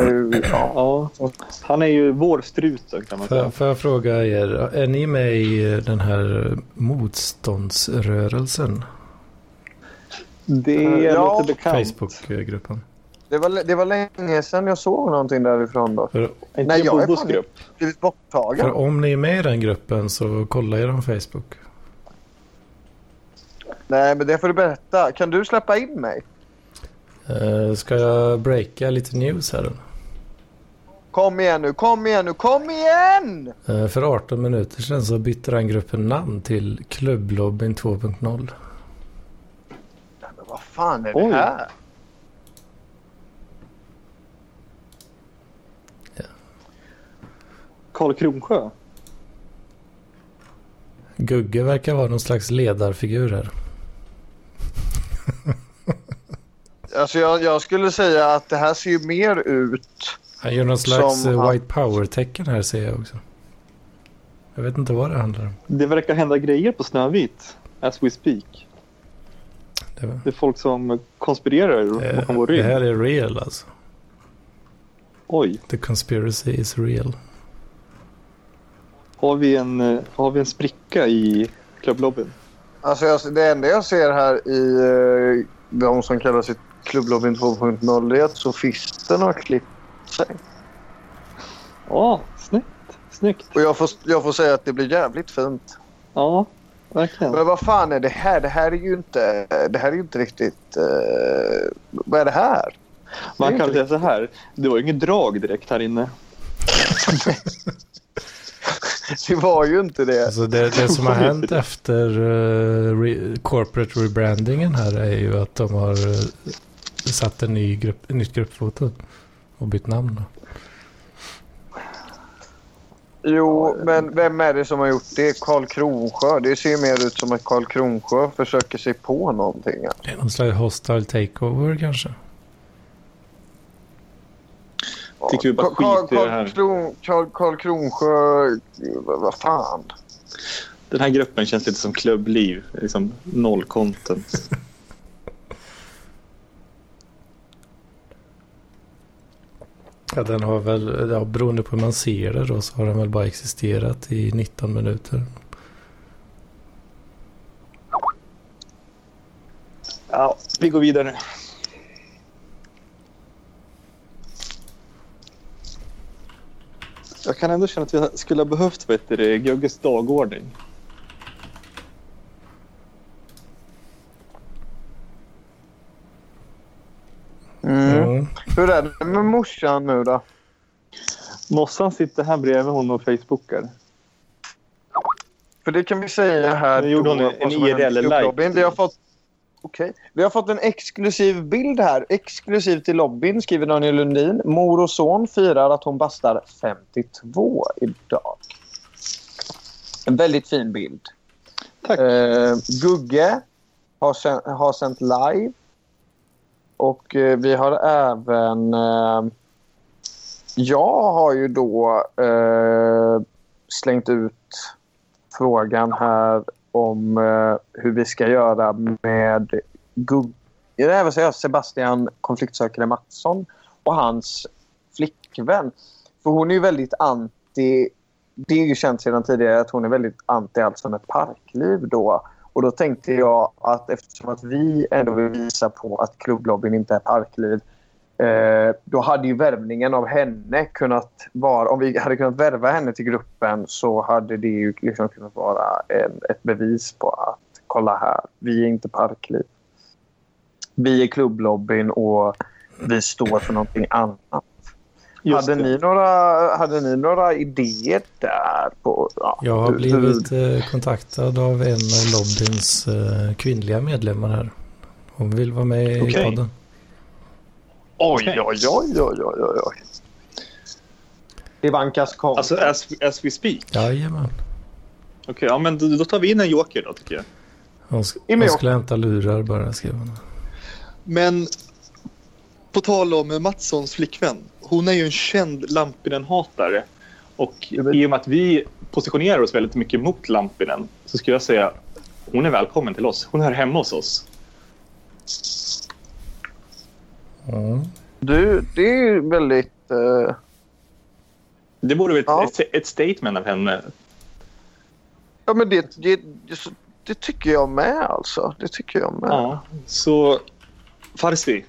Speaker 1: Ja.
Speaker 3: Ja. Han är ju vår strut kan man
Speaker 2: Får
Speaker 3: säga.
Speaker 2: jag, får jag fråga er, är ni med i den här motståndsrörelsen?
Speaker 3: Det
Speaker 1: Ja.
Speaker 3: låter bekant.
Speaker 2: Facebookgruppen?
Speaker 1: Det var, det var länge sedan jag såg någonting därifrån då.
Speaker 2: För,
Speaker 5: Inte
Speaker 1: Nej,
Speaker 5: i
Speaker 1: jag är
Speaker 5: Bobos
Speaker 1: fan-
Speaker 5: grupp.
Speaker 1: Blivit
Speaker 2: för
Speaker 1: borttagen.
Speaker 2: om ni är med i den gruppen så kolla er om Facebook.
Speaker 1: Nej, men det får du berätta. Kan du släppa in mig?
Speaker 2: Eh, ska jag breaka lite news här?
Speaker 1: Kom igen nu, kom igen nu, kom igen!
Speaker 2: Eh, för 18 minuter sedan så bytte den gruppen namn till Klubblobbyn 2.0.
Speaker 1: Nej, men vad fan är
Speaker 5: Oj.
Speaker 1: det här?
Speaker 3: Karl Kronsjö.
Speaker 2: Gugge verkar vara någon slags ledarfigur här.
Speaker 1: Alltså jag, jag skulle säga att det här ser ju mer ut...
Speaker 2: Han gör någon slags
Speaker 1: Som
Speaker 2: eh,
Speaker 1: han-
Speaker 2: white power-tecken här ser jag också. Jag vet inte vad det handlar om.
Speaker 3: Det verkar hända grejer på Snövit. As we speak.
Speaker 2: Det, var,
Speaker 3: Det är folk som konspirerar bakom vår
Speaker 2: Eh, det
Speaker 3: rygg.
Speaker 2: här är real alltså.
Speaker 3: Oj,
Speaker 2: The conspiracy is real.
Speaker 3: har vi en, eh, har vi en spricka i klubblobbyn?
Speaker 1: Alltså jag, det enda jag ser här i eh, de som kallar sig Klubblobbyn 2.0 det är att sofisten har klippt sig.
Speaker 3: Ja, snyggt. Snyggt.
Speaker 1: Och jag får, jag får säga att det blir jävligt fint.
Speaker 3: Ja, verkligen.
Speaker 1: Men vad fan är det här? Det här är ju inte, det här är ju inte riktigt... eh, vad är det här?
Speaker 3: Man kan väl säga så här. Det var ju inget drag direkt här inne.
Speaker 1: Det var ju inte det.
Speaker 2: Alltså det, det som har hänt efter eh, re, corporate rebrandingen här är ju att de har eh, satt en ny grupp, ett nytt gruppfoto och bytt namn. Då.
Speaker 1: Jo, men vem är det som har gjort det? Karl Kronsjö? Det ser ju mer ut som att Karl Kronsjö försöker sig på någonting.
Speaker 2: Det är någon slags hostile takeover kanske.
Speaker 3: Tycker vi bara
Speaker 1: Karl- Karl-
Speaker 3: skiter i det här.
Speaker 1: Karl Kron- Karl- Karl Kronsjö... Vad vad fan?
Speaker 3: Den här gruppen känns lite som klubbliv. Liksom noll content.
Speaker 2: Ja, den har väl, ja, beroende på hur man ser det då, så har den väl bara existerat i 19 minuter.
Speaker 3: Ja, vi går vidare. Jag kan ändå känna att vi skulle ha behövt vet du, Gugges dagordning.
Speaker 1: Mm.
Speaker 2: Ja.
Speaker 1: Hur är det med morsan nu då?
Speaker 3: Mossan sitter här bredvid hon och facebookar.
Speaker 1: För det kan vi säga här.
Speaker 3: Nu gjorde hon
Speaker 1: då,
Speaker 3: en-
Speaker 1: vad som
Speaker 3: en
Speaker 1: har hänt i
Speaker 3: IRL-like.
Speaker 1: klubblobbyn. Vi har fått... Okej. Vi har fått en exklusiv bild här. Exklusiv till lobbyn, skriver Daniel Lundin. Mor och son firar att hon bastar 52 idag. En väldigt fin bild.
Speaker 3: Tack.
Speaker 1: Eh, Gugge har, sen, har sänt live. Och eh, vi har även... Eh, jag har ju då eh, slängt ut frågan här om eh, hur vi ska göra med Gugge... Nej, vad säger jag? Sebastian konfliktsökare Mattsson och hans flickvän. För hon är ju väldigt anti... Det är ju känt sedan tidigare att hon är väldigt anti allt som är parkliv då. Och då tänkte jag att eftersom att vi ändå vill visa på att klubblobbyn inte är parkliv eh, då hade ju värvningen av henne kunnat vara... Om vi hade kunnat värva henne till gruppen så hade det ju liksom kunnat vara en, ett bevis på att kolla här, vi är inte parkliv. Vi är klubblobbyn och vi står för någonting annat.
Speaker 3: Just
Speaker 1: Hade
Speaker 3: det.
Speaker 1: ni, några, hade ni några idéer där? På, ja,
Speaker 2: Jag har
Speaker 1: hur-
Speaker 2: blivit eh, kontaktad av en av lobbyns eh, kvinnliga medlemmar här. Hon vill vara med i
Speaker 3: Okej.
Speaker 2: podden.
Speaker 1: Oj, oj, oj, oj, oj, oj, oj. Ivankas kom.
Speaker 3: Alltså as, as we speak.
Speaker 2: Jajamän.
Speaker 3: Okej, ja, men då, då tar vi in en joker då tycker jag.
Speaker 2: Hon, sk-
Speaker 1: men
Speaker 2: hon
Speaker 1: jag-
Speaker 2: skulle hämta lurar bara skrev hon.
Speaker 3: Men på tal om Mattssons flickvän. Hon är ju en känd Lampinen-hatare. Och i och med att vi positionerar oss väldigt mycket mot Lampinen så skulle jag säga hon är välkommen till oss. Hon hör hemma hos oss.
Speaker 2: Mm.
Speaker 1: du, det är ju väldigt... eh,
Speaker 3: Det borde vara
Speaker 1: Ja.
Speaker 3: ett, ett, ett statement av henne.
Speaker 1: ja, men det, det, det, det tycker jag med, alltså. Det tycker jag med.
Speaker 3: Ja. Så Farsi,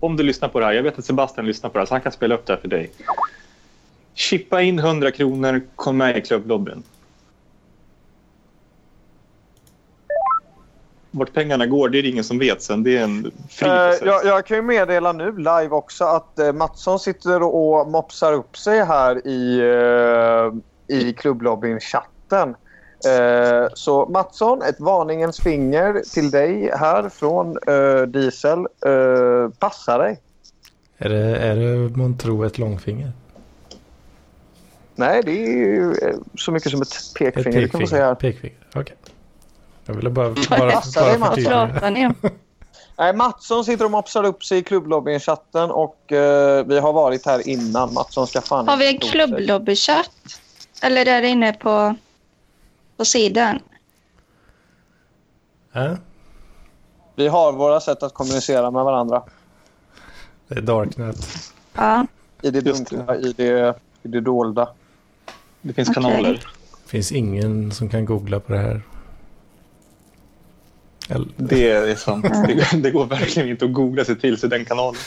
Speaker 3: om du lyssnar på det här, jag vet att Sebastian lyssnar på det här, så han kan spela upp det här för dig. Chippa in 100 kronor, kom med i klubblobbyn. Vart pengarna går, det är det ingen som vet sen. Det är en fri
Speaker 1: Eh,
Speaker 3: process.
Speaker 1: jag, jag kan ju meddela nu live också att eh, Mattsson sitter och mopsar upp sig här i, eh, i klubblobbyn-chatten. Eh, så Mattsson, ett varningens finger till dig här från eh, Diesel. Eh, passa dig.
Speaker 2: Är det, är det månntro ett långfinger?
Speaker 1: Nej, det är ju eh, så mycket som ett
Speaker 2: Ett
Speaker 1: pekfinger. Det kan man säga här.
Speaker 2: pekfinger? Pekfinger, okej. Jag ville bara, bara, bara
Speaker 1: Passar det, Mats?
Speaker 2: förtydliga.
Speaker 7: Pratar ni?
Speaker 1: Nej, Mattsson sitter och mopsar upp sig i klubblobbyn-chatten och eh, vi har varit här innan. Mattsson ska fan
Speaker 7: Har vi en
Speaker 1: inte tro sig.
Speaker 7: klubblobbychatt? Eller är det inne på, på sidan?
Speaker 2: Ja,
Speaker 1: Vi har våra sätt att kommunicera med varandra.
Speaker 2: det är Darknet.
Speaker 7: Ja.
Speaker 1: I det
Speaker 3: Just det.
Speaker 1: dunkla, i det, i det dolda.
Speaker 3: Det finns
Speaker 7: Okej.
Speaker 3: kanaler.
Speaker 2: finns ingen som kan googla på det här. Eller,
Speaker 3: Det är sant. Det, det går verkligen inte att googla sig till sig den kanalen.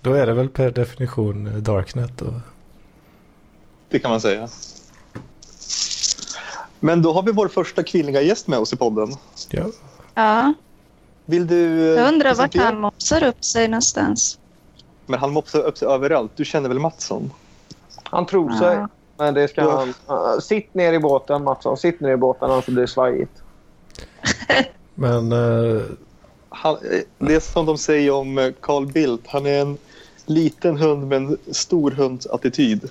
Speaker 2: då är det väl per definition eh, Darknet då?
Speaker 3: Det kan man säga. Men då har vi vår första kvinnliga gäst med oss i podden.
Speaker 2: Ja.
Speaker 7: ja.
Speaker 3: Vill du... eh,
Speaker 7: Jag undrar vart
Speaker 3: presentera-
Speaker 7: han mopsar upp sig någonstans.
Speaker 3: Men han mopsar upp sig överallt. Du känner väl Mattsson?
Speaker 1: Han tror sig.
Speaker 7: Ja.
Speaker 1: Men det ska
Speaker 3: Ja.
Speaker 1: han. Ah, sitt ner i båten, Mattsson. Sitt ner i båten, annars blir det svajigt.
Speaker 2: Men eh,
Speaker 3: Han, eh, det är som de säger om eh, Carl Bildt. Han är en liten hund med en stor hunds attityd.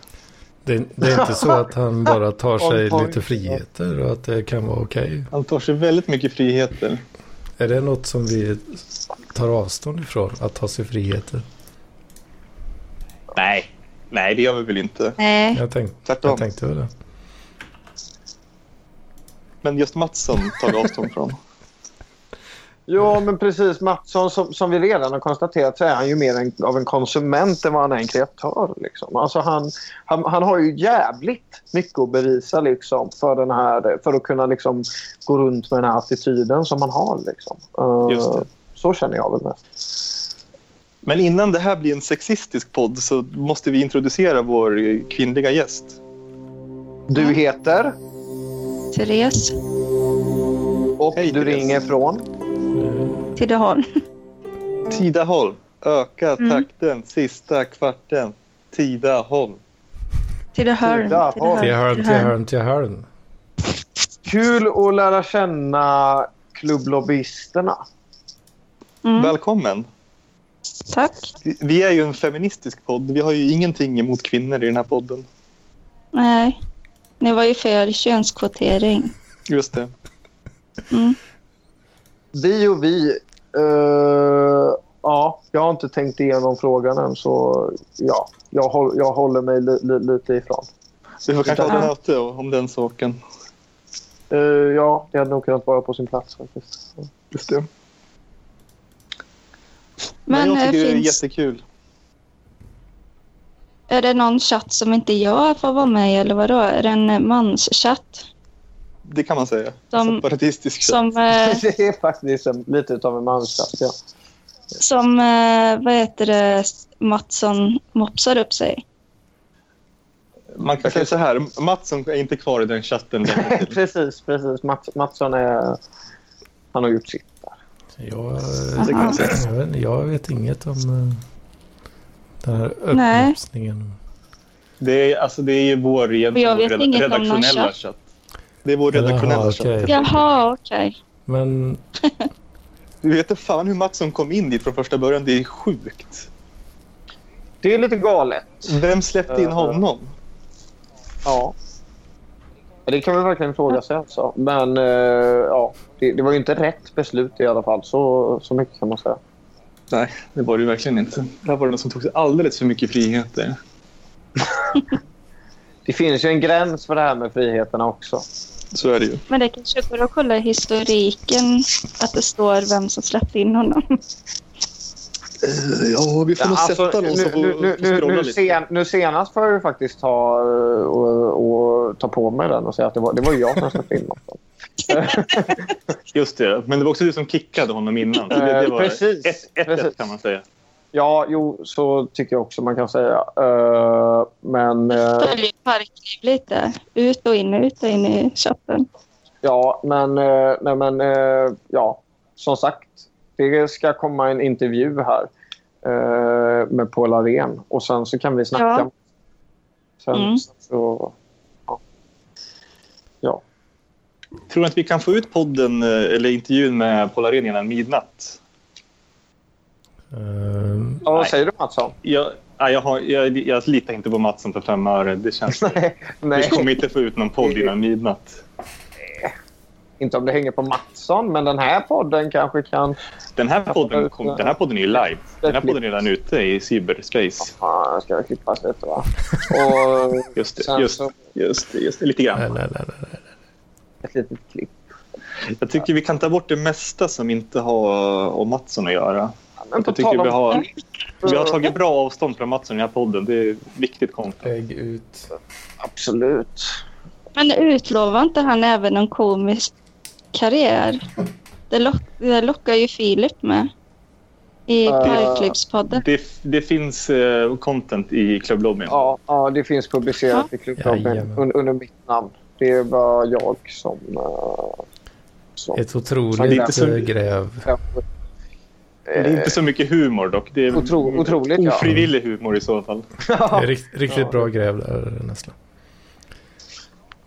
Speaker 2: det, det är inte så att han bara tar sig
Speaker 1: Oj, oj.
Speaker 2: lite friheter och att det kan vara okej.
Speaker 3: Han tar sig väldigt mycket friheter.
Speaker 2: Är det något som vi tar avstånd ifrån? Att ta sig friheter?
Speaker 3: Nej. Nej, det gör vi väl inte.
Speaker 7: Nej.
Speaker 2: Jag, tänk,
Speaker 3: Tvärtom.
Speaker 2: jag tänkte väl det.
Speaker 3: Men just Mattsson tar vi avstånd från.
Speaker 1: Ja, men precis. Mattsson, som, som vi redan har konstaterat, så är han ju mer en, av en konsument än vad han är en kreatör. Liksom. Alltså han, han, han har ju jävligt mycket att bevisa liksom, för, den här, för att kunna liksom, gå runt med den här attityden som han har. Liksom. Eh,
Speaker 3: Just det.
Speaker 1: Så känner jag väl mest.
Speaker 3: Men innan det här blir en sexistisk podd så måste vi introducera vår eh, kvinnliga gäst. Mm.
Speaker 1: Du heter
Speaker 7: Therese
Speaker 1: och
Speaker 3: Hej,
Speaker 1: du
Speaker 3: Therese.
Speaker 1: ringer från?
Speaker 7: Tidaholm.
Speaker 3: Tidaholm. Öka
Speaker 7: Mm.
Speaker 3: takten sista kvarten. Tidaholm.
Speaker 7: Tidaholm.
Speaker 1: Tidaholm.
Speaker 2: Till hörn, till
Speaker 7: Tidaholm.
Speaker 2: hörn, till hörn.
Speaker 1: Kul att lära känna klubblobbyisterna.
Speaker 7: Mm.
Speaker 3: Välkommen.
Speaker 7: Tack.
Speaker 3: Vi- Vi är ju en feministisk podd. Vi har ju ingenting emot kvinnor i den här podden.
Speaker 7: Nej. Det var ju fel könskvotering.
Speaker 3: Just det.
Speaker 1: Vi och vi. eh, ja, jag har inte tänkt igenom frågan än, så ja, jag, håll, jag håller mig li, li, lite ifrån.
Speaker 3: Vi får kanske ha ett
Speaker 7: Ja.
Speaker 3: möte om den saken.
Speaker 1: Eh, ja, det hade nog kunnat vara på sin plats. faktiskt.
Speaker 3: Just det. Men,
Speaker 7: Men,
Speaker 3: jag
Speaker 7: eh,
Speaker 3: tycker det är
Speaker 7: finns,
Speaker 3: jättekul.
Speaker 7: är det någon chatt som inte jag får vara med i eller vadå? Är det en eh, manschatt?
Speaker 3: Det kan man säga. Alltså,
Speaker 7: Som-
Speaker 3: Separatistisk.
Speaker 7: Som, eh,
Speaker 1: Det är faktiskt en, lite av en mansplats. Ja.
Speaker 7: som eh, vad heter det, Mattsson mopsar upp sig.
Speaker 3: Man kan säga så här. Mattsson är inte kvar i den chatten länge till.
Speaker 1: precis, precis. Mats, Mattsson är... Han har gjort sitt.
Speaker 2: Jag,
Speaker 3: Det kan man säga.
Speaker 2: jag, vet, jag vet inget om eh, den här
Speaker 7: Nej.
Speaker 2: uppmopsningen.
Speaker 3: Det är, alltså, det är ju vår, egentligen
Speaker 7: Jag
Speaker 3: vår
Speaker 7: vet
Speaker 3: reda-
Speaker 7: inget om någon
Speaker 3: redaktionella chatt.
Speaker 7: chatt.
Speaker 3: Det är vår redaktionella
Speaker 2: Jaha,
Speaker 3: chatt.
Speaker 2: okej.
Speaker 7: Jaha, okej.
Speaker 2: Men
Speaker 3: Du vet inte fan hur Mattsson kom in dit från första början. Det är sjukt.
Speaker 1: Det är lite galet.
Speaker 3: Vem släppte in
Speaker 1: Jaha.
Speaker 3: honom?
Speaker 1: Ja. Det kan vi verkligen fråga sig. Alltså. Men eh, ja, det, det var ju inte rätt beslut i alla fall. Så, så mycket kan man säga.
Speaker 3: Nej, det var det ju verkligen inte. Där var det någon som tog sig alldeles för mycket friheter.
Speaker 1: Det finns ju en gräns för det här med friheterna också.
Speaker 3: Så är det ju.
Speaker 7: Men det kanske går att kolla i historiken att det står vem som släppte in honom.
Speaker 3: Ja, vi får nog sätta någon som får,
Speaker 1: alltså, nu, nu,
Speaker 3: får
Speaker 1: nu,
Speaker 3: scrolla
Speaker 1: nu,
Speaker 3: lite.
Speaker 1: sen, nu senast får jag ju faktiskt ta, eh, och, och ta på mig den och säga att det var, det var ju jag som släppte in honom.
Speaker 3: Just det, men det var också du som kickade honom innan. Så det, det
Speaker 1: Eh,
Speaker 3: var
Speaker 1: precis,
Speaker 3: ett, ett,
Speaker 1: precis.
Speaker 3: ett kan man säga.
Speaker 1: Ja, jo, så tycker jag också man kan säga. Eh, men eh,
Speaker 7: Följer parkliv lite. Ut och in, ut och in i shoppen.
Speaker 1: ja, men, eh, nej, men eh, ja, som sagt. Det ska komma en intervju här eh, med Paul Arén och sen så kan vi snacka.
Speaker 7: Ja.
Speaker 1: Sen
Speaker 7: Mm.
Speaker 1: så,
Speaker 3: Tror du att vi kan få ut podden eh, eller intervjun med Paul Arén innan midnatt?
Speaker 2: Ehm,
Speaker 1: ja, vad
Speaker 3: Nej.
Speaker 1: säger du Mattsson?
Speaker 3: Jag, nej, jag, har, jag, jag litar inte på Mattsson för fem öre. Det känns... Vi
Speaker 1: Nej,
Speaker 3: kommer inte få ut någon podd innan midnatt.
Speaker 1: inte om det hänger på Mattsson, men den här podden kanske kan...
Speaker 3: Den här podden, kom, den här podden är ju live. Den här podden är redan ute i cyberspace.
Speaker 1: Fan, den ska klippas lite va? Och
Speaker 3: Just det,
Speaker 1: sen
Speaker 3: just,
Speaker 1: så
Speaker 3: just, det, just det. Lite
Speaker 2: nej,
Speaker 3: grann.
Speaker 2: nej, nej, nej.
Speaker 1: ett litet klipp.
Speaker 3: Jag tycker vi kan ta bort det mesta som inte har om Mattsson att göra.
Speaker 1: Men på
Speaker 3: Jag tycker
Speaker 1: tal om...
Speaker 3: vi har, vi har tagit bra avstånd från Mattsson i den här podden. Det är viktigt content.
Speaker 2: Lägg ut.
Speaker 1: Absolut.
Speaker 7: Men utlovar inte han även någon komisk karriär? Det, lock, det lockar ju Filip med. I
Speaker 1: Äh.
Speaker 7: parklivspodden.
Speaker 3: Det, det finns eh, content i Clublobbyn.
Speaker 1: Ja, ja det finns publicerat i klubben
Speaker 2: Jajamän.
Speaker 1: under, under mitt namn. Det var jag som... eh, som
Speaker 2: Ett
Speaker 1: Det är
Speaker 2: otroligt
Speaker 1: inte
Speaker 3: så-
Speaker 2: eh, gräv.
Speaker 3: Det är inte så mycket humor dock. Det är
Speaker 1: eh, Otro- otroligt, ja.
Speaker 3: ofrivillig humor i så fall.
Speaker 2: Det är rikt, riktigt bra gräv där nästan.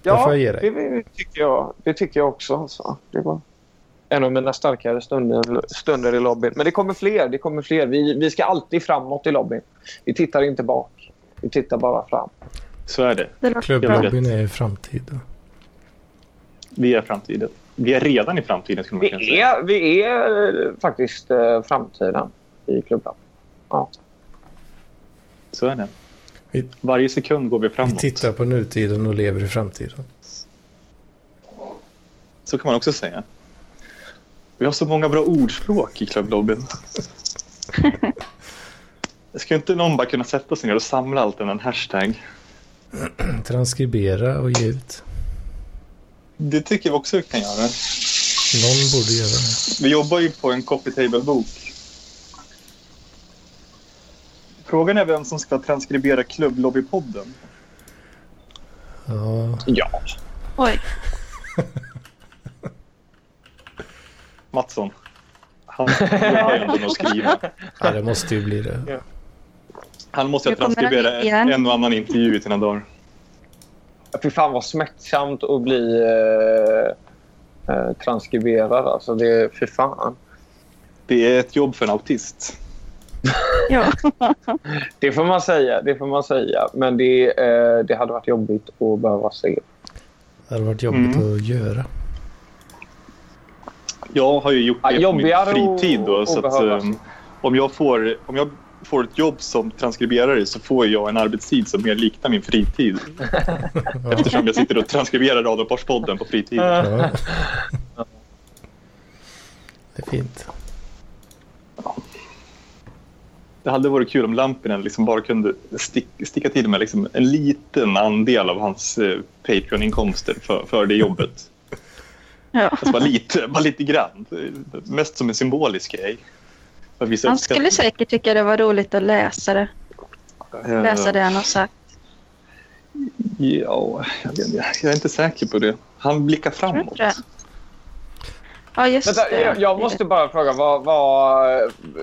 Speaker 2: Det får
Speaker 1: ja,
Speaker 2: jag ge dig.
Speaker 1: det, det, tycker jag, det tycker jag också. Så. Det var en av mina starkare stunder, stunder i lobbyn. Men det kommer fler. Det kommer fler. Vi, vi ska alltid framåt i lobbyn. Vi tittar inte bak. Vi tittar bara fram.
Speaker 3: Så är det.
Speaker 7: Det lockar.
Speaker 2: Klubblobbyn är ju framtiden.
Speaker 3: Vi är framtiden. Vi är redan i framtiden skulle man kunna
Speaker 1: Vi
Speaker 3: säga.
Speaker 1: är, vi är eh, faktiskt eh, framtiden i klubben.
Speaker 3: Så är det.
Speaker 2: Vi-
Speaker 3: Varje sekund går vi
Speaker 2: Vi
Speaker 3: framåt.
Speaker 2: tittar på nutiden och lever i framtiden.
Speaker 3: Så kan man också säga. Vi har så många bra ordspråk i klubblobbyn. Ska inte någon bara kunna sätta sig ner och samla allt under en hashtag?
Speaker 2: Transkribera och ge ut.
Speaker 3: Det tycker vi också vi kan göra.
Speaker 2: Någon borde göra det.
Speaker 3: Vi jobbar ju på en copy table-bok. Frågan är vem som ska transkribera klubblobbypodden.
Speaker 2: Ja,
Speaker 3: Ja.
Speaker 7: Oj.
Speaker 3: Mattsson. Han har ju ändå något att skriva.
Speaker 2: ja det måste ju bli det.
Speaker 3: Han måste ju
Speaker 7: Nu kommer han
Speaker 3: transkribera
Speaker 7: hit igen.
Speaker 3: en och annan intervju i sina dagar.
Speaker 1: Fy fan vad smärtsamt att bli eh, eh, transkriberad. Alltså det, fy fan.
Speaker 3: Det är ett jobb för en autist.
Speaker 7: Ja.
Speaker 1: Det får man säga. Det får man säga. Men det, eh, det hade varit jobbigt att behöva se.
Speaker 2: Det hade varit jobbigt
Speaker 3: Mm.
Speaker 2: att göra.
Speaker 3: Jag har ju gjort
Speaker 1: Ja,
Speaker 3: det på min
Speaker 1: jobbigare
Speaker 3: fritid. Då,
Speaker 1: att-
Speaker 3: så
Speaker 1: att
Speaker 3: att,
Speaker 1: behöva.
Speaker 3: ehm, om, jag får, om jag får ett jobb som transkriberare så får jag en arbetstid som mer liknar min fritid.
Speaker 2: Ja.
Speaker 3: Eftersom jag sitter och transkriberar Radarparspodden på fritiden.
Speaker 2: Ja. Det är fint.
Speaker 3: Det hade varit kul om Lampinen liksom bara kunde stick, sticka till med liksom en liten andel av hans eh, Patreon-inkomster för, för det jobbet.
Speaker 7: Ja.
Speaker 3: Alltså bara, lite, bara lite grann. Mest som en symbolisk grej. För att visa
Speaker 7: Han
Speaker 3: uppskattning.
Speaker 7: skulle säkert tycka det var roligt att läsa det.
Speaker 3: Eh,
Speaker 7: Läsa det han har sagt.
Speaker 3: Ja, jag, vet inte. jag är inte säker på det. Han blickar
Speaker 7: Tror
Speaker 3: framåt.
Speaker 7: du det? Ja, just
Speaker 1: Vänta,
Speaker 7: det.
Speaker 1: jag, jag måste bara fråga. Vad, vad,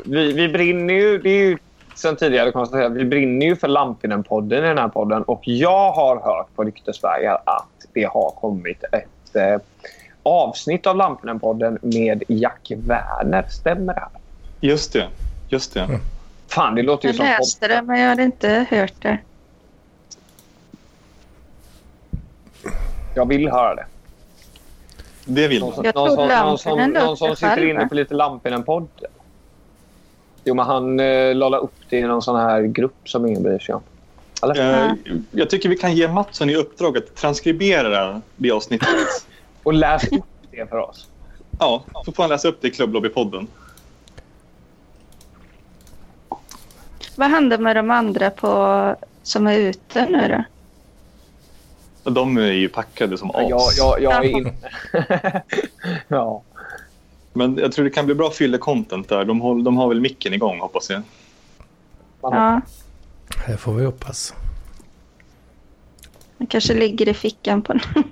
Speaker 1: vi, vi brinner ju... Det är ju sen tidigare konstaterat. Vi brinner ju för Lampinen-podden i den här podden. Och jag har hört på ryktesvägar att det har kommit ett eh, avsnitt av Lampinen-podden med Jack Werner. Stämmer det? här?
Speaker 3: Just det. Just det.
Speaker 1: Fan, det låter ju
Speaker 7: Jag
Speaker 1: som... podd-
Speaker 7: läste det, men jag hade inte hört det.
Speaker 1: Jag vill höra det.
Speaker 3: Det vill
Speaker 1: Någon
Speaker 3: man.
Speaker 1: som,
Speaker 7: Jag
Speaker 1: någon
Speaker 7: tror
Speaker 1: som, någon som,
Speaker 7: Lampinen låter
Speaker 1: någon som sitter
Speaker 7: själv,
Speaker 1: inne
Speaker 7: va?
Speaker 1: på lite Lampinen-podd. Jo, men han eh, la upp det i någon sån här grupp som ingen bryr sig om.
Speaker 3: Eh, Jag tycker vi kan ge Mattsson i uppdrag att transkribera det avsnittet.
Speaker 1: Och läs upp det för oss.
Speaker 3: Ja, så får han läsa upp det i Klubblobbypodden.
Speaker 7: Vad händer med de andra på, som är ute nu då?
Speaker 3: Och De är ju packade som as.
Speaker 1: Jag, jag, jag är inne. ja.
Speaker 3: Men jag tror det kan bli bra fylle-content där. De, håll, de har väl micken igång hoppas jag.
Speaker 7: Ja,
Speaker 2: Här får vi hoppas.
Speaker 7: han kanske ligger i fickan på någon.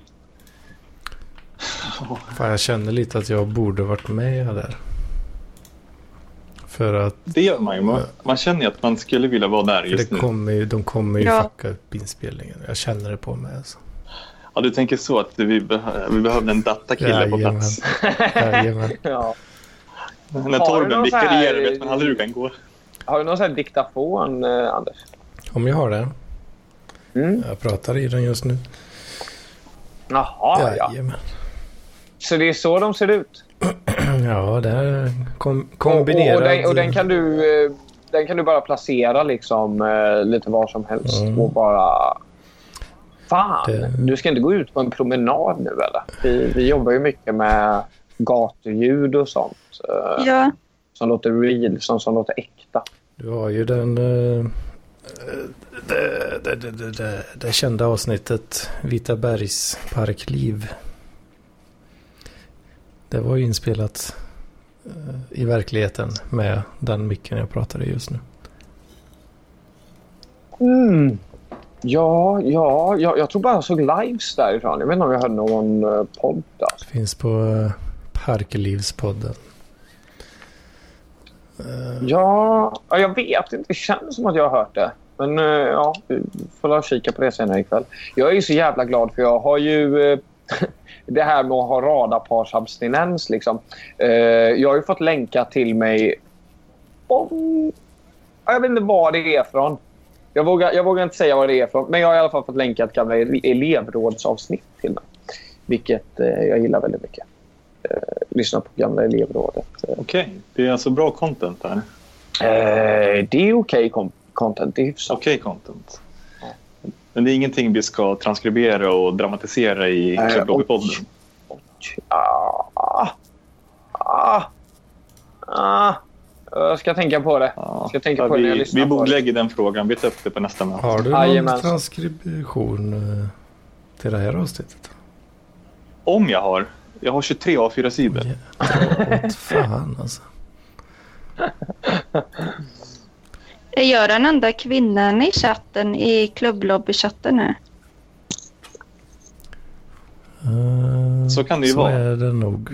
Speaker 2: Fan, jag känner lite att jag borde varit med där. För att
Speaker 3: Det gör man ju. Man, man känner ju att man skulle vilja vara där
Speaker 2: det
Speaker 3: just nu.
Speaker 2: kommer, ju- de kommer ju
Speaker 7: Ja.
Speaker 2: fucka upp inspelningen. Jag känner det på mig. Alltså.
Speaker 3: Ja, du tänker så att vi, behö- vi behövde en datakille på
Speaker 2: Jajamän.
Speaker 3: plats.
Speaker 2: Jajamän.
Speaker 1: Ja.
Speaker 3: När
Speaker 1: Har du
Speaker 3: Torben
Speaker 1: någon så här-
Speaker 3: vikarierar vet man aldrig hur den går.
Speaker 1: Har du någon sån här diktafon, eh, Anders?
Speaker 2: Om jag har det.
Speaker 1: Mm.
Speaker 2: Jag pratar i den just nu.
Speaker 1: Jaha, ja.
Speaker 2: Jajamän.
Speaker 1: Så det är så de ser ut?
Speaker 2: Ja, det är kom,
Speaker 1: Och,
Speaker 2: kombinerad.
Speaker 1: och, den, och den, kan du, eh, den kan du bara placera liksom, eh, lite var som helst
Speaker 2: Mm.
Speaker 1: och bara... Fan,
Speaker 2: Det-
Speaker 1: du ska inte gå ut på en promenad nu eller? Vi, vi jobbar ju mycket med gatuljud och sånt eh,
Speaker 7: Ja,
Speaker 1: som låter real, som, som låter äkta.
Speaker 2: Du har ju den... eh, Det, det, det, det, det, det kända avsnittet Vita Bergs parkliv. Det var ju inspelat eh, i verkligheten med den micken jag pratade i just nu.
Speaker 1: Mm. Ja, ja, ja, jag tror bara jag såg lives därifrån. Jag vet inte om jag hörde någon eh, podd. Alltså.
Speaker 2: Finns på eh, Parklivspodden.
Speaker 1: Ja, ja, jag vet inte. Det känns som att jag har hört det. Men eh, ja, vi får la kika på det senare ikväll. Jag är ju så jävla glad för jag har ju eh, det här med att ha radarparsabstinens. Liksom. Eh, Jag har ju fått länka till mig om... ja, Jag vet inte var det är från. Jag vågar, jag vågar inte säga var det är från. Men jag har i alla fall fått länkat gamla ele- elevrådsavsnitt till mig. Vilket eh, jag gillar väldigt mycket. Eh, Lyssna på gamla elevrådet. eh,
Speaker 3: Okej, det är alltså bra content där.
Speaker 1: Eh, det är okej com- content. Det är hyfsat.
Speaker 3: Okej content. Men det är ingenting vi ska transkribera och dramatisera i
Speaker 1: Nej,
Speaker 3: Club
Speaker 1: oj.
Speaker 3: Lobby-podden.
Speaker 1: Ah, ah, ah, ah. Jag ska tänka på det.
Speaker 3: Ja.
Speaker 1: Ska tänka
Speaker 3: Ja,
Speaker 1: på det när jag
Speaker 3: vi,
Speaker 1: lyssnar
Speaker 3: vi
Speaker 1: på det.
Speaker 3: bordlägger den frågan. Vi tar upp det på nästa möte.
Speaker 2: Har du någon
Speaker 1: Jajamän.
Speaker 2: transkription eh, till det här avsnittet?
Speaker 3: Om jag har. Jag har 23 A4-sidor.
Speaker 2: Ja, dra åt fan alltså.
Speaker 7: jag gör den enda kvinnan i chatten i klubblobbychatten nu.
Speaker 2: Eh,
Speaker 3: Så kan det ju
Speaker 2: så
Speaker 3: vara.
Speaker 2: är det nog.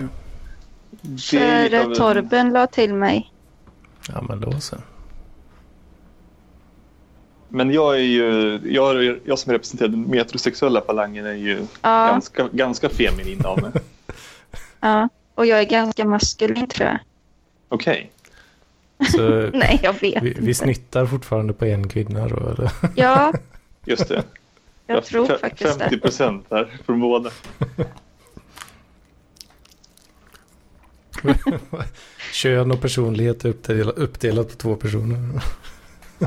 Speaker 3: Det är lite
Speaker 7: För
Speaker 3: av
Speaker 7: eh,
Speaker 3: en-
Speaker 7: Torben la till mig.
Speaker 2: Ja men då så.
Speaker 3: Men jag är ju... Jag, är- jag som representerar den metrosexuella falangen är ju
Speaker 7: Ja,
Speaker 3: ganska, ganska feminin av mig.
Speaker 7: ja. Och jag är ganska maskulin tror jag.
Speaker 3: Okej.
Speaker 2: så
Speaker 7: Nej, jag vet
Speaker 2: vi, vi
Speaker 7: inte.
Speaker 2: snittar fortfarande på en kvinna då eller?
Speaker 7: Ja,
Speaker 3: Just det.
Speaker 7: jag tror
Speaker 3: fe-
Speaker 7: faktiskt
Speaker 3: 50
Speaker 7: det.
Speaker 3: procent här från båda.
Speaker 2: Kön och personlighet är uppdelat, uppdelat på två personer.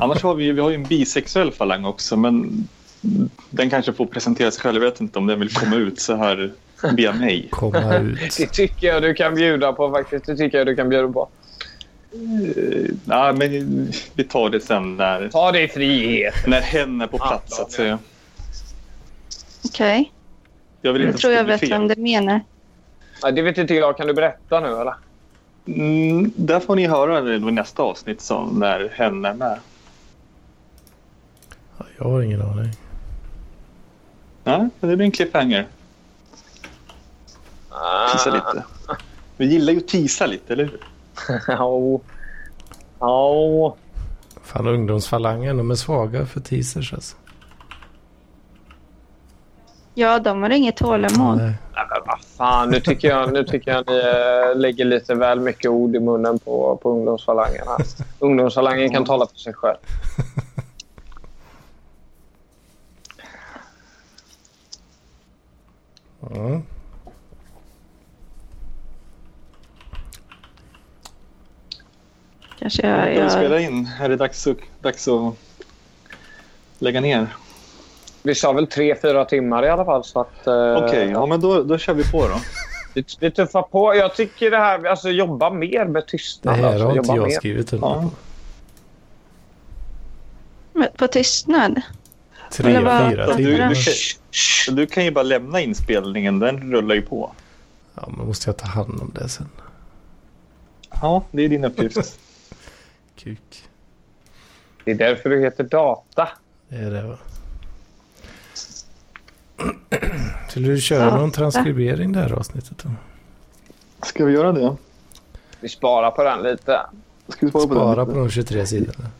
Speaker 3: Annars har vi, ju- vi har ju en bisexuell falang också, men den kanske får presentera sig själv. Jag vet inte om den vill komma ut så här via mig.
Speaker 2: Komma ut.
Speaker 1: Det tycker jag du kan bjuda på faktiskt. Det tycker jag du kan bjuda på.
Speaker 3: Eh, nej, men vi tar det sen när,
Speaker 1: Ta dig frihet.
Speaker 3: när hen är på plats. Så att säga.
Speaker 7: Okej,
Speaker 3: Jag vill inte
Speaker 7: jag tror
Speaker 3: att det
Speaker 7: jag
Speaker 3: blir
Speaker 7: vet vem
Speaker 3: fel.
Speaker 7: du menar.
Speaker 1: Nej, det vet inte jag. Kan du berätta nu eller?
Speaker 3: Mm, där får ni höra det då i nästa avsnitt som när hen är med.
Speaker 2: Ja, Jag har ingen aning.
Speaker 3: Ja, men det blir en cliffhanger.
Speaker 1: Ah.
Speaker 3: Teasa lite. Vi gillar ju att teasa lite, eller hur?
Speaker 1: Ja. Ja.
Speaker 2: Fan ungdomsfalangen, de är svaga för teasers alltså.
Speaker 7: Ja, de har inget tålamod.
Speaker 2: Nej.
Speaker 1: Nej, men vad fan. Nu tycker jag, nu tycker jag ni eh, lägger lite väl mycket ord i munnen på, på ungdomsfalangen. här. Ungdomsfalangen kan tala för sig själv.
Speaker 2: Mm.
Speaker 7: Kanske jag,
Speaker 3: Ska vi
Speaker 7: jag...
Speaker 3: spela in? Är det dags att, dags att lägga ner?
Speaker 1: Vi sa väl tre, fyra timmar i alla fall. Så att, eh,
Speaker 3: Okej, ja, men då, då kör vi på då.
Speaker 1: Vi, vi tuffar på. Jag tycker det här, alltså jobba mer med
Speaker 2: Det
Speaker 1: tystnad.
Speaker 2: här
Speaker 1: alltså,
Speaker 2: har inte
Speaker 1: jobba
Speaker 2: jag
Speaker 1: mer.
Speaker 2: skrivit under
Speaker 3: Ja.
Speaker 2: på.
Speaker 7: På tystnad?
Speaker 2: Tre,
Speaker 7: Eller vad-
Speaker 2: fyra
Speaker 3: Du, du,
Speaker 2: timmar.
Speaker 3: kan, du kan ju bara lämna inspelningen, den rullar ju på.
Speaker 2: Ja, men måste jag ta hand om det sen.
Speaker 3: Ja, det är din uppgift.
Speaker 2: Kuk.
Speaker 1: Det är därför du heter Data.
Speaker 2: Det är det va? Skulle du köra någon transkribering det här avsnittet? Då?
Speaker 3: Ska vi göra det?
Speaker 1: Vi sparar på den lite.
Speaker 3: Ska vi spara på
Speaker 2: Spara
Speaker 3: den?
Speaker 2: på
Speaker 3: lite?
Speaker 2: de 23 sidorna.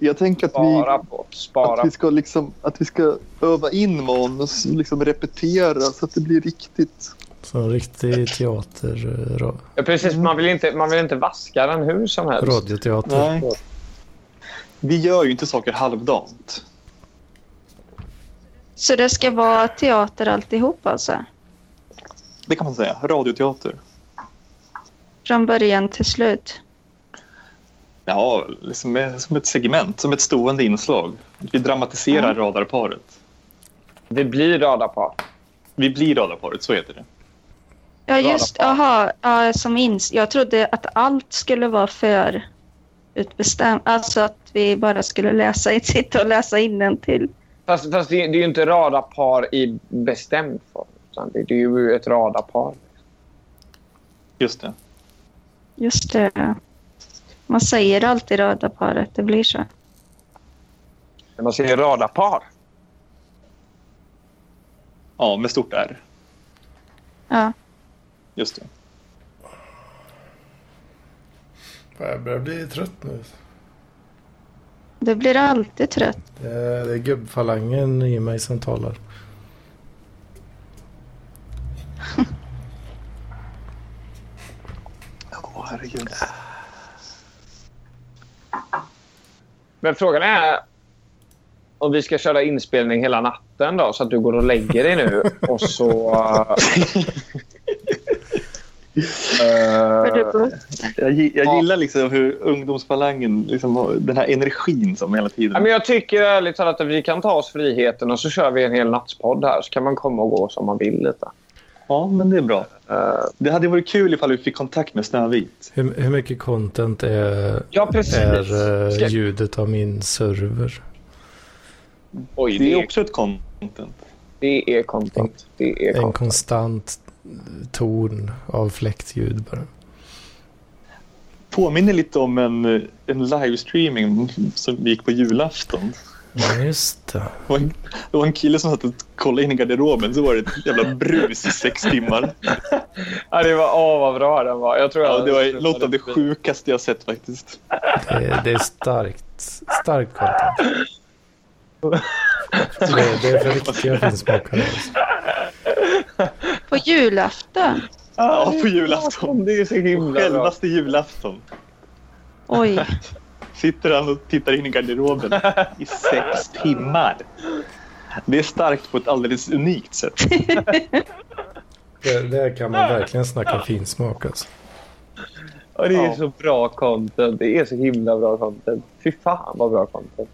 Speaker 3: Jag tänker att vi,
Speaker 1: Spara på. Spara
Speaker 3: att,
Speaker 1: på.
Speaker 3: vi ska liksom, att vi ska öva in manus, liksom repetera så att det blir riktigt.
Speaker 2: Som riktig teater, eh, ra-
Speaker 1: Ja, precis. Man vill, inte, man vill inte vaska den hur som helst.
Speaker 2: radioteater.
Speaker 3: Vi gör ju inte saker halvdant.
Speaker 7: Så det ska vara teater alltihop alltså?
Speaker 3: Det kan man säga. Radioteater.
Speaker 7: Från början till slut?
Speaker 3: Ja, liksom som ett segment, som ett stående inslag. Vi dramatiserar radarparet.
Speaker 1: Det blir radarpar.
Speaker 3: Vi blir radarparet, så heter det.
Speaker 7: Ja, just aha, ja, som ins. Jag trodde att allt skulle vara för utbestämt. Alltså att vi bara skulle läsa in, sitta och läsa till.
Speaker 1: Fast, fast det, det är ju inte radarpar i bestämd form. Utan det, det är ju ett radarpar.
Speaker 3: Just det.
Speaker 7: Just det. Man säger alltid röda paret, det blir så.
Speaker 1: När man säger radarpar.
Speaker 3: Ja, med stort R.
Speaker 7: Ja.
Speaker 3: Just det.
Speaker 2: Jag börjar bli trött nu.
Speaker 7: Det blir alltid trött.
Speaker 2: Det är, det är gubbfalangen i mig som talar.
Speaker 3: Åh, herregud.
Speaker 1: Men frågan är om vi ska köra inspelning hela natten då så att du går och lägger dig nu och så...
Speaker 7: För
Speaker 1: eh,
Speaker 7: det går-
Speaker 3: Jag, gi- jag
Speaker 1: Ja.
Speaker 3: gillar liksom hur ungdomsfalangen, liksom, har den här energin som hela
Speaker 1: Ja,
Speaker 3: tiden...
Speaker 1: men jag tycker ärligt talat att vi kan ta oss friheten och så kör vi en hel nattspodd här så kan man komma och gå som man vill lite.
Speaker 3: Ja, men det är bra.
Speaker 1: Eh,
Speaker 3: Det hade varit kul ifall vi fick kontakt med Snövit.
Speaker 2: Hur, hur mycket content är,
Speaker 1: ja, precis.
Speaker 2: är eh,
Speaker 1: Ska-
Speaker 2: ljudet av min server?
Speaker 1: Oj,
Speaker 3: Det
Speaker 1: det
Speaker 3: är
Speaker 1: är,
Speaker 3: också ett content.
Speaker 1: det är content. Det är
Speaker 2: En
Speaker 1: content.
Speaker 2: konstant ton av fläktljud bara.
Speaker 3: Påminner lite om en, eh, en livestreaming som gick på julafton.
Speaker 2: Ja, just det.
Speaker 3: Det var en, det var en kille som satt och kollade in i garderoben så var det ett jävla brus i sex timmar.
Speaker 1: Ja, det var, åh, vad bra den var. Jag tror
Speaker 3: Ja,
Speaker 1: jag
Speaker 3: det var något av det sjukaste jag sett faktiskt.
Speaker 2: Det, det är starkt. Starkt content. Det, det är för riktiga finsmakare. alltså.
Speaker 7: På julafton?
Speaker 3: Ja, på julafton.
Speaker 1: Det är så himla bra.
Speaker 3: Självaste julafton.
Speaker 7: Oj.
Speaker 3: Sitter han och tittar in i garderoben i sex timmar. Det är starkt på ett alldeles unikt sätt.
Speaker 2: Det, där kan man verkligen snacka finsmak alltså.
Speaker 1: Ja, det är
Speaker 3: Ja.
Speaker 1: så bra content. Det är så himla bra content. Fy fan vad bra content.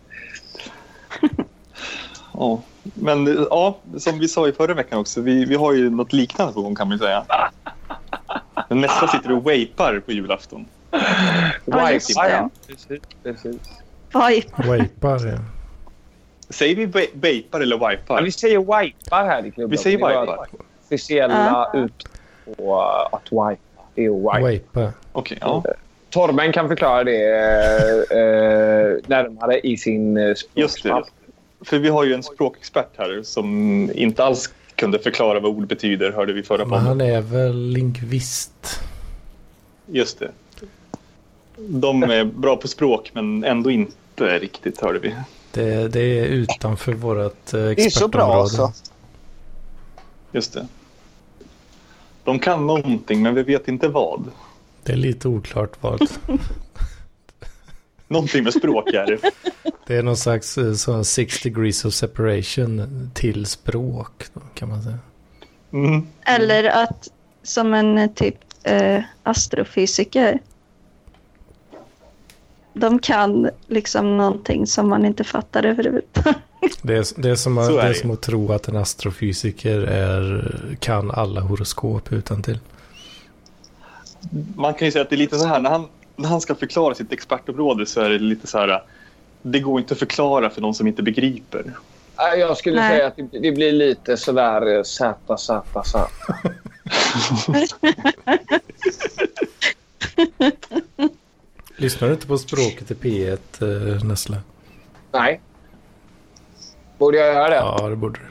Speaker 3: Ja, men eh, ja, som vi sa i förra veckan också, vi, vi har ju något liknande på gång kan man ju säga. Men nästa sitter och vapar på julafton.
Speaker 7: Ja, just
Speaker 3: typ.
Speaker 1: Wifi,
Speaker 7: det.
Speaker 1: Precis, precis.
Speaker 7: Oj.
Speaker 2: Wapar, ja.
Speaker 3: Säger vi va- vapar eller
Speaker 1: Ja,
Speaker 3: wipar?
Speaker 1: vi säger wipar här i klubben.
Speaker 3: Vi säger
Speaker 1: Det är
Speaker 3: wipar.
Speaker 1: vårt Officiella ut på eh, att wipa. Det är wipe.
Speaker 2: Wapa.
Speaker 3: Okej, ja.
Speaker 1: Torben kan förklara det eh, eh, närmare i sin eh,
Speaker 3: Just det.
Speaker 1: språkspalt.
Speaker 3: För vi har ju en språkexpert här som inte alls kunde förklara vad ord betyder, hörde vi förra
Speaker 2: Men
Speaker 3: podden.
Speaker 2: han är väl lingvist.
Speaker 3: Just det. De är bra på språk, men ändå inte riktigt, hörde vi.
Speaker 2: Det, det är utanför vårt eh, expertområde.
Speaker 8: Det är så bra alltså.
Speaker 3: Just det. De kan någonting, men vi vet inte vad.
Speaker 2: Det är lite oklart vad.
Speaker 3: Någonting med språk är det.
Speaker 2: Det är någon slags eh, sån six degrees of separation till språk då, kan man säga.
Speaker 3: Mm.
Speaker 7: Eller att som en eh, typ eh, astrofysiker. De kan liksom någonting som man inte fattar överhuvudtaget.
Speaker 2: Det är, det är, som, att,
Speaker 3: Så är
Speaker 2: det är
Speaker 3: det.
Speaker 2: som att tro att en astrofysiker är, kan alla horoskop utan till.
Speaker 3: Man kan ju säga att det är lite så här när han, när han ska förklara sitt expertområde så är det lite så här det går inte att förklara för någon som inte begriper.
Speaker 1: Nej, Jag skulle
Speaker 7: Nej.
Speaker 1: säga att det, det blir lite sådär eh, Z, Z, Z.
Speaker 2: Lyssnar du inte på språket i P1 eh, Nessla?
Speaker 5: Nej. Borde jag göra det?
Speaker 2: Ja, det borde du.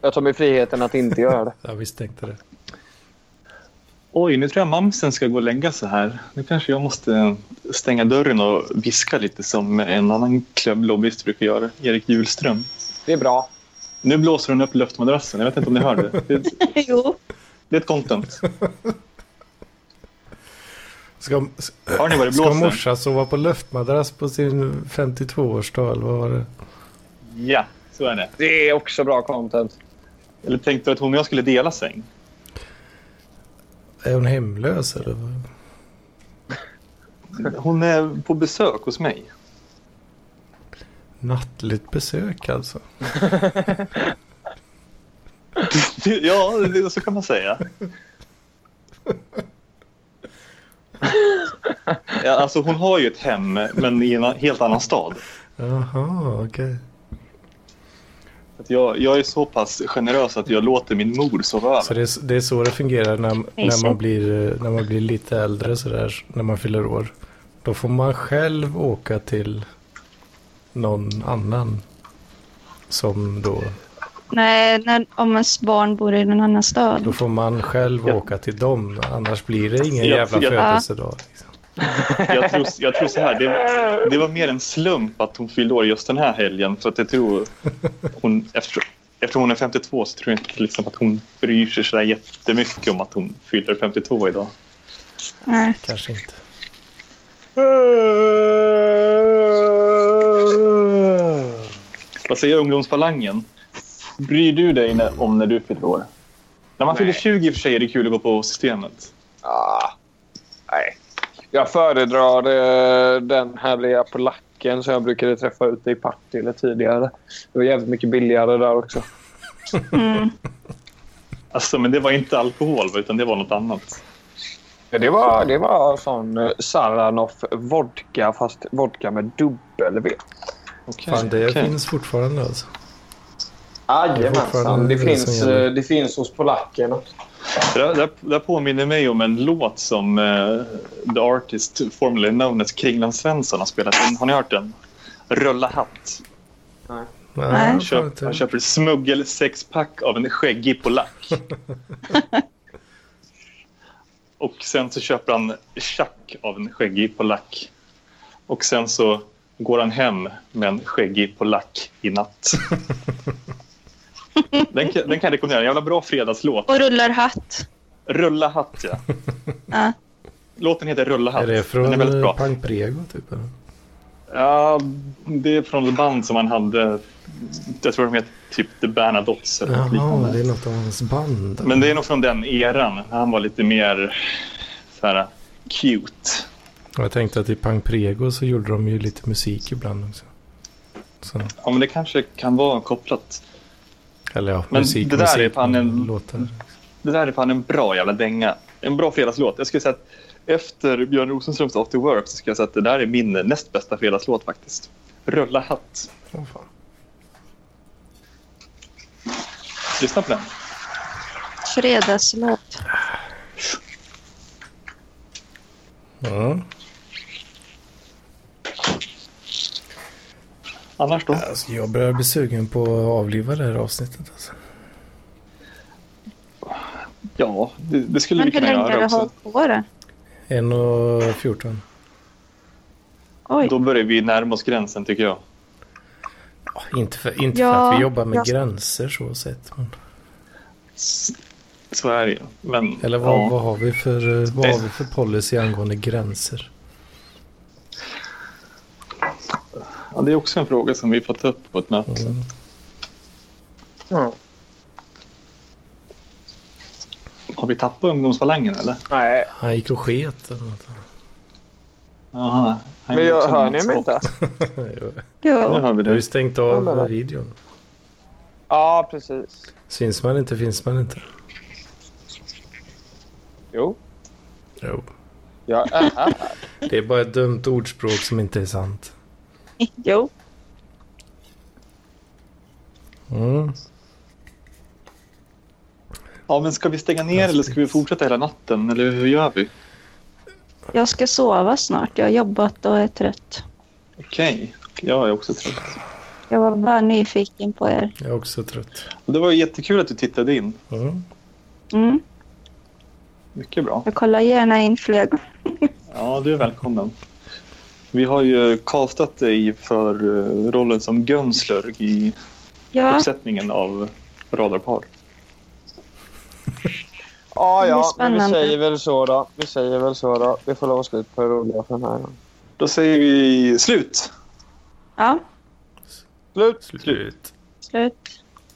Speaker 5: Jag tar mig friheten att inte göra det.
Speaker 2: Jag misstänkte det.
Speaker 3: Oj, nu tror jag mamsen ska gå och lägga sig här. Nu kanske jag måste stänga dörren och viska lite som en annan klubblobbyist brukar göra, Erik Hjulström.
Speaker 5: Det är bra.
Speaker 3: Nu blåser hon upp luftmadrassen. Jag vet inte om ni hör det. Det är ett,
Speaker 7: jo.
Speaker 3: det är ett content.
Speaker 2: Ska,
Speaker 3: Har ni vad det
Speaker 2: ska
Speaker 3: blåser?
Speaker 2: morsan sova på luftmadrass på sin 52-årsdag eller vad var det?
Speaker 3: Ja, så är det.
Speaker 5: Det är också bra content.
Speaker 3: Eller tänkte du att hon och jag skulle dela säng?
Speaker 2: Är hon hemlös eller? vad?
Speaker 3: Hon är på besök hos mig.
Speaker 2: Nattligt besök alltså.
Speaker 3: Ja, det- så kan man säga. Ja, alltså hon har ju ett hem, men i en a- helt annan stad.
Speaker 2: Jaha, okej.
Speaker 3: Att jag, jag är så pass generös att jag låter min mor sova
Speaker 2: Så
Speaker 3: över.
Speaker 2: det är, s- det är så det fungerar när, när, man blir, eh, när man blir lite äldre sådär, när man fyller år. Då får man själv åka till någon annan. Som då,
Speaker 7: Nej, när, om ens barn bor i någon annan stad.
Speaker 2: då får man själv
Speaker 3: Ja.
Speaker 2: åka till dem. Annars blir det ingen
Speaker 3: Ja,
Speaker 2: jävla
Speaker 3: ja.
Speaker 2: födelsedag. Liksom.
Speaker 3: Jag tror, jag tror så här, det, det var mer en slump att hon fyllde år just den här helgen. För att jag tror hon, efter, eftersom hon är 52 så tror jag inte liksom att hon bryr sig så där jättemycket om att hon fyller 52 idag.
Speaker 7: Nej.
Speaker 2: Kanske inte.
Speaker 3: Vad säger ungdomsfalangen? Bryr du dig när, om när du fyller år? När man
Speaker 5: Nej.
Speaker 3: fyller 20 i och för sig är det kul att gå på systemet.
Speaker 5: Ah, nej. Jag föredrar eh, den härliga polacken som jag brukade träffa ute i Partille tidigare. Det var jävligt mycket billigare där också.
Speaker 7: Mm.
Speaker 3: Alltså, men det var inte alkohol, utan det var något annat.
Speaker 5: Ja, Det var, det var sån eh, Saranoff vodka, fast vodka med dubbel-V.
Speaker 3: Okej,
Speaker 2: Fan, det
Speaker 3: okej.
Speaker 2: finns fortfarande alltså.
Speaker 5: Jajamensan.
Speaker 2: fortfarande
Speaker 5: Det,
Speaker 2: det som
Speaker 5: finns,
Speaker 2: gäller.
Speaker 5: eh, det finns hos polackerna.
Speaker 3: Det där, det där, det där påminner mig om en låt som eh, The Artist, formerly known as Kringland Svensson, har spelat in. Har ni hört den? Rulla hatt.
Speaker 7: Nej.
Speaker 2: jag
Speaker 3: Han,
Speaker 2: får
Speaker 3: köp,
Speaker 2: inte.
Speaker 3: han köper smuggel sexpack av en skäggig polack. och sen så köper han tjack av en skäggig polack. Och sen så går han hem med en skäggig polack i natt. den, kan, den kan jag rekommendera. En jävla bra fredagslåt.
Speaker 7: Och rullar hatt.
Speaker 3: Rulla hatt, ja.
Speaker 7: Ja.
Speaker 3: Låten heter Rulla hatt.
Speaker 2: Är det
Speaker 3: den
Speaker 2: från
Speaker 3: är väldigt
Speaker 2: eh,
Speaker 3: bra.
Speaker 2: Pang Prego typ? Eller?
Speaker 3: Ja, det är från ett band som han hade. Jag tror de heter typ The Bernadottes eller något
Speaker 2: Jaha,
Speaker 3: liknande.
Speaker 2: det är något av hans band.
Speaker 3: Men det är nog från den eran. Han var lite mer så här, cute.
Speaker 2: Och Jag tänkte att i Pang Prego så gjorde de ju lite musik ibland också. Så,
Speaker 3: Ja, men det kanske kan vara kopplat.
Speaker 2: eller ja,
Speaker 3: Men
Speaker 2: musik,
Speaker 3: det där är
Speaker 2: musik,
Speaker 3: fan en-
Speaker 2: men låtar.
Speaker 3: Det där är fan en bra jävla dänga. En bra fredagslåt. Jag skulle säga att efter Björn Rosenströms After Work så skulle jag säga att det där är min näst bästa fredagslåt faktiskt. Rulla hatt.
Speaker 2: Åh, fan.
Speaker 3: Lyssna på den.
Speaker 7: Fredagslåt.
Speaker 2: Ja,
Speaker 3: Annars då?
Speaker 2: alltså jag börjar bli sugen på att avliva det här avsnittet. Alltså.
Speaker 3: Ja, det, det skulle vi
Speaker 7: Men hur
Speaker 3: kunna
Speaker 7: länge har
Speaker 3: göra
Speaker 7: du
Speaker 3: också.
Speaker 7: hållit på då?
Speaker 2: 1 och 14.
Speaker 7: Oj.
Speaker 3: Då börjar vi närma oss gränsen tycker jag.
Speaker 2: Ja, Inte, för, inte för
Speaker 7: Ja,
Speaker 2: att vi jobbar med
Speaker 7: ja.
Speaker 2: gränser så sett. Men,
Speaker 3: S- Så är det ju. Men,
Speaker 2: eller vad,
Speaker 3: ja.
Speaker 2: vad, har vi för, eh, vad
Speaker 3: Det-
Speaker 2: har vi för policy angående gränser?
Speaker 3: Ja, det är också en fråga som vi får ta upp på ett möte.
Speaker 2: Mm.
Speaker 3: Har vi tappat ungdomsfalangen eller?
Speaker 5: Nej,
Speaker 2: Han gick och sket eller något.
Speaker 3: Jaha.
Speaker 5: men
Speaker 3: han gjorde
Speaker 5: jag,
Speaker 3: också
Speaker 5: hör
Speaker 3: en
Speaker 5: ni mig
Speaker 3: skock.
Speaker 5: inte?
Speaker 2: Jo,
Speaker 3: Nu
Speaker 7: Jo.
Speaker 3: hör vi
Speaker 2: Du har ju
Speaker 3: det.
Speaker 2: stängt
Speaker 5: Ja,
Speaker 2: av
Speaker 5: men-
Speaker 2: videon.
Speaker 5: Ja, precis.
Speaker 2: Syns man inte finns man inte.
Speaker 5: Jo,
Speaker 2: Jo.
Speaker 5: jag är här.
Speaker 2: Det är bara ett dumt ordspråk som inte är sant.
Speaker 7: jo.
Speaker 2: Mm.
Speaker 3: Ja, men ska vi stänga ner eller ska vi fortsätta hela natten? Eller hur gör vi?
Speaker 7: Jag ska sova snart. Jag har jobbat och är trött.
Speaker 3: Okej. Jag är också trött.
Speaker 7: Jag var bara nyfiken på er.
Speaker 2: Jag är också trött.
Speaker 3: Och det var ju jättekul att du tittade in.
Speaker 2: Mm.
Speaker 7: Mm.
Speaker 3: Mycket bra.
Speaker 7: Jag kollar gärna in fler gånger.
Speaker 3: Ja, du är välkommen. Vi har ju castat dig för eh, rollen som Gönslurg i
Speaker 7: Ja,
Speaker 3: uppsättningen av Radarpar.
Speaker 1: Ja,
Speaker 7: Det är
Speaker 1: ja, men vi
Speaker 7: spännande.
Speaker 1: säger väl så då. Vi säger väl så då. Vi får lova slut på det roliga för den här gången.
Speaker 3: Då säger vi slut!
Speaker 7: ja
Speaker 1: Slut!
Speaker 2: Slut.
Speaker 7: slut.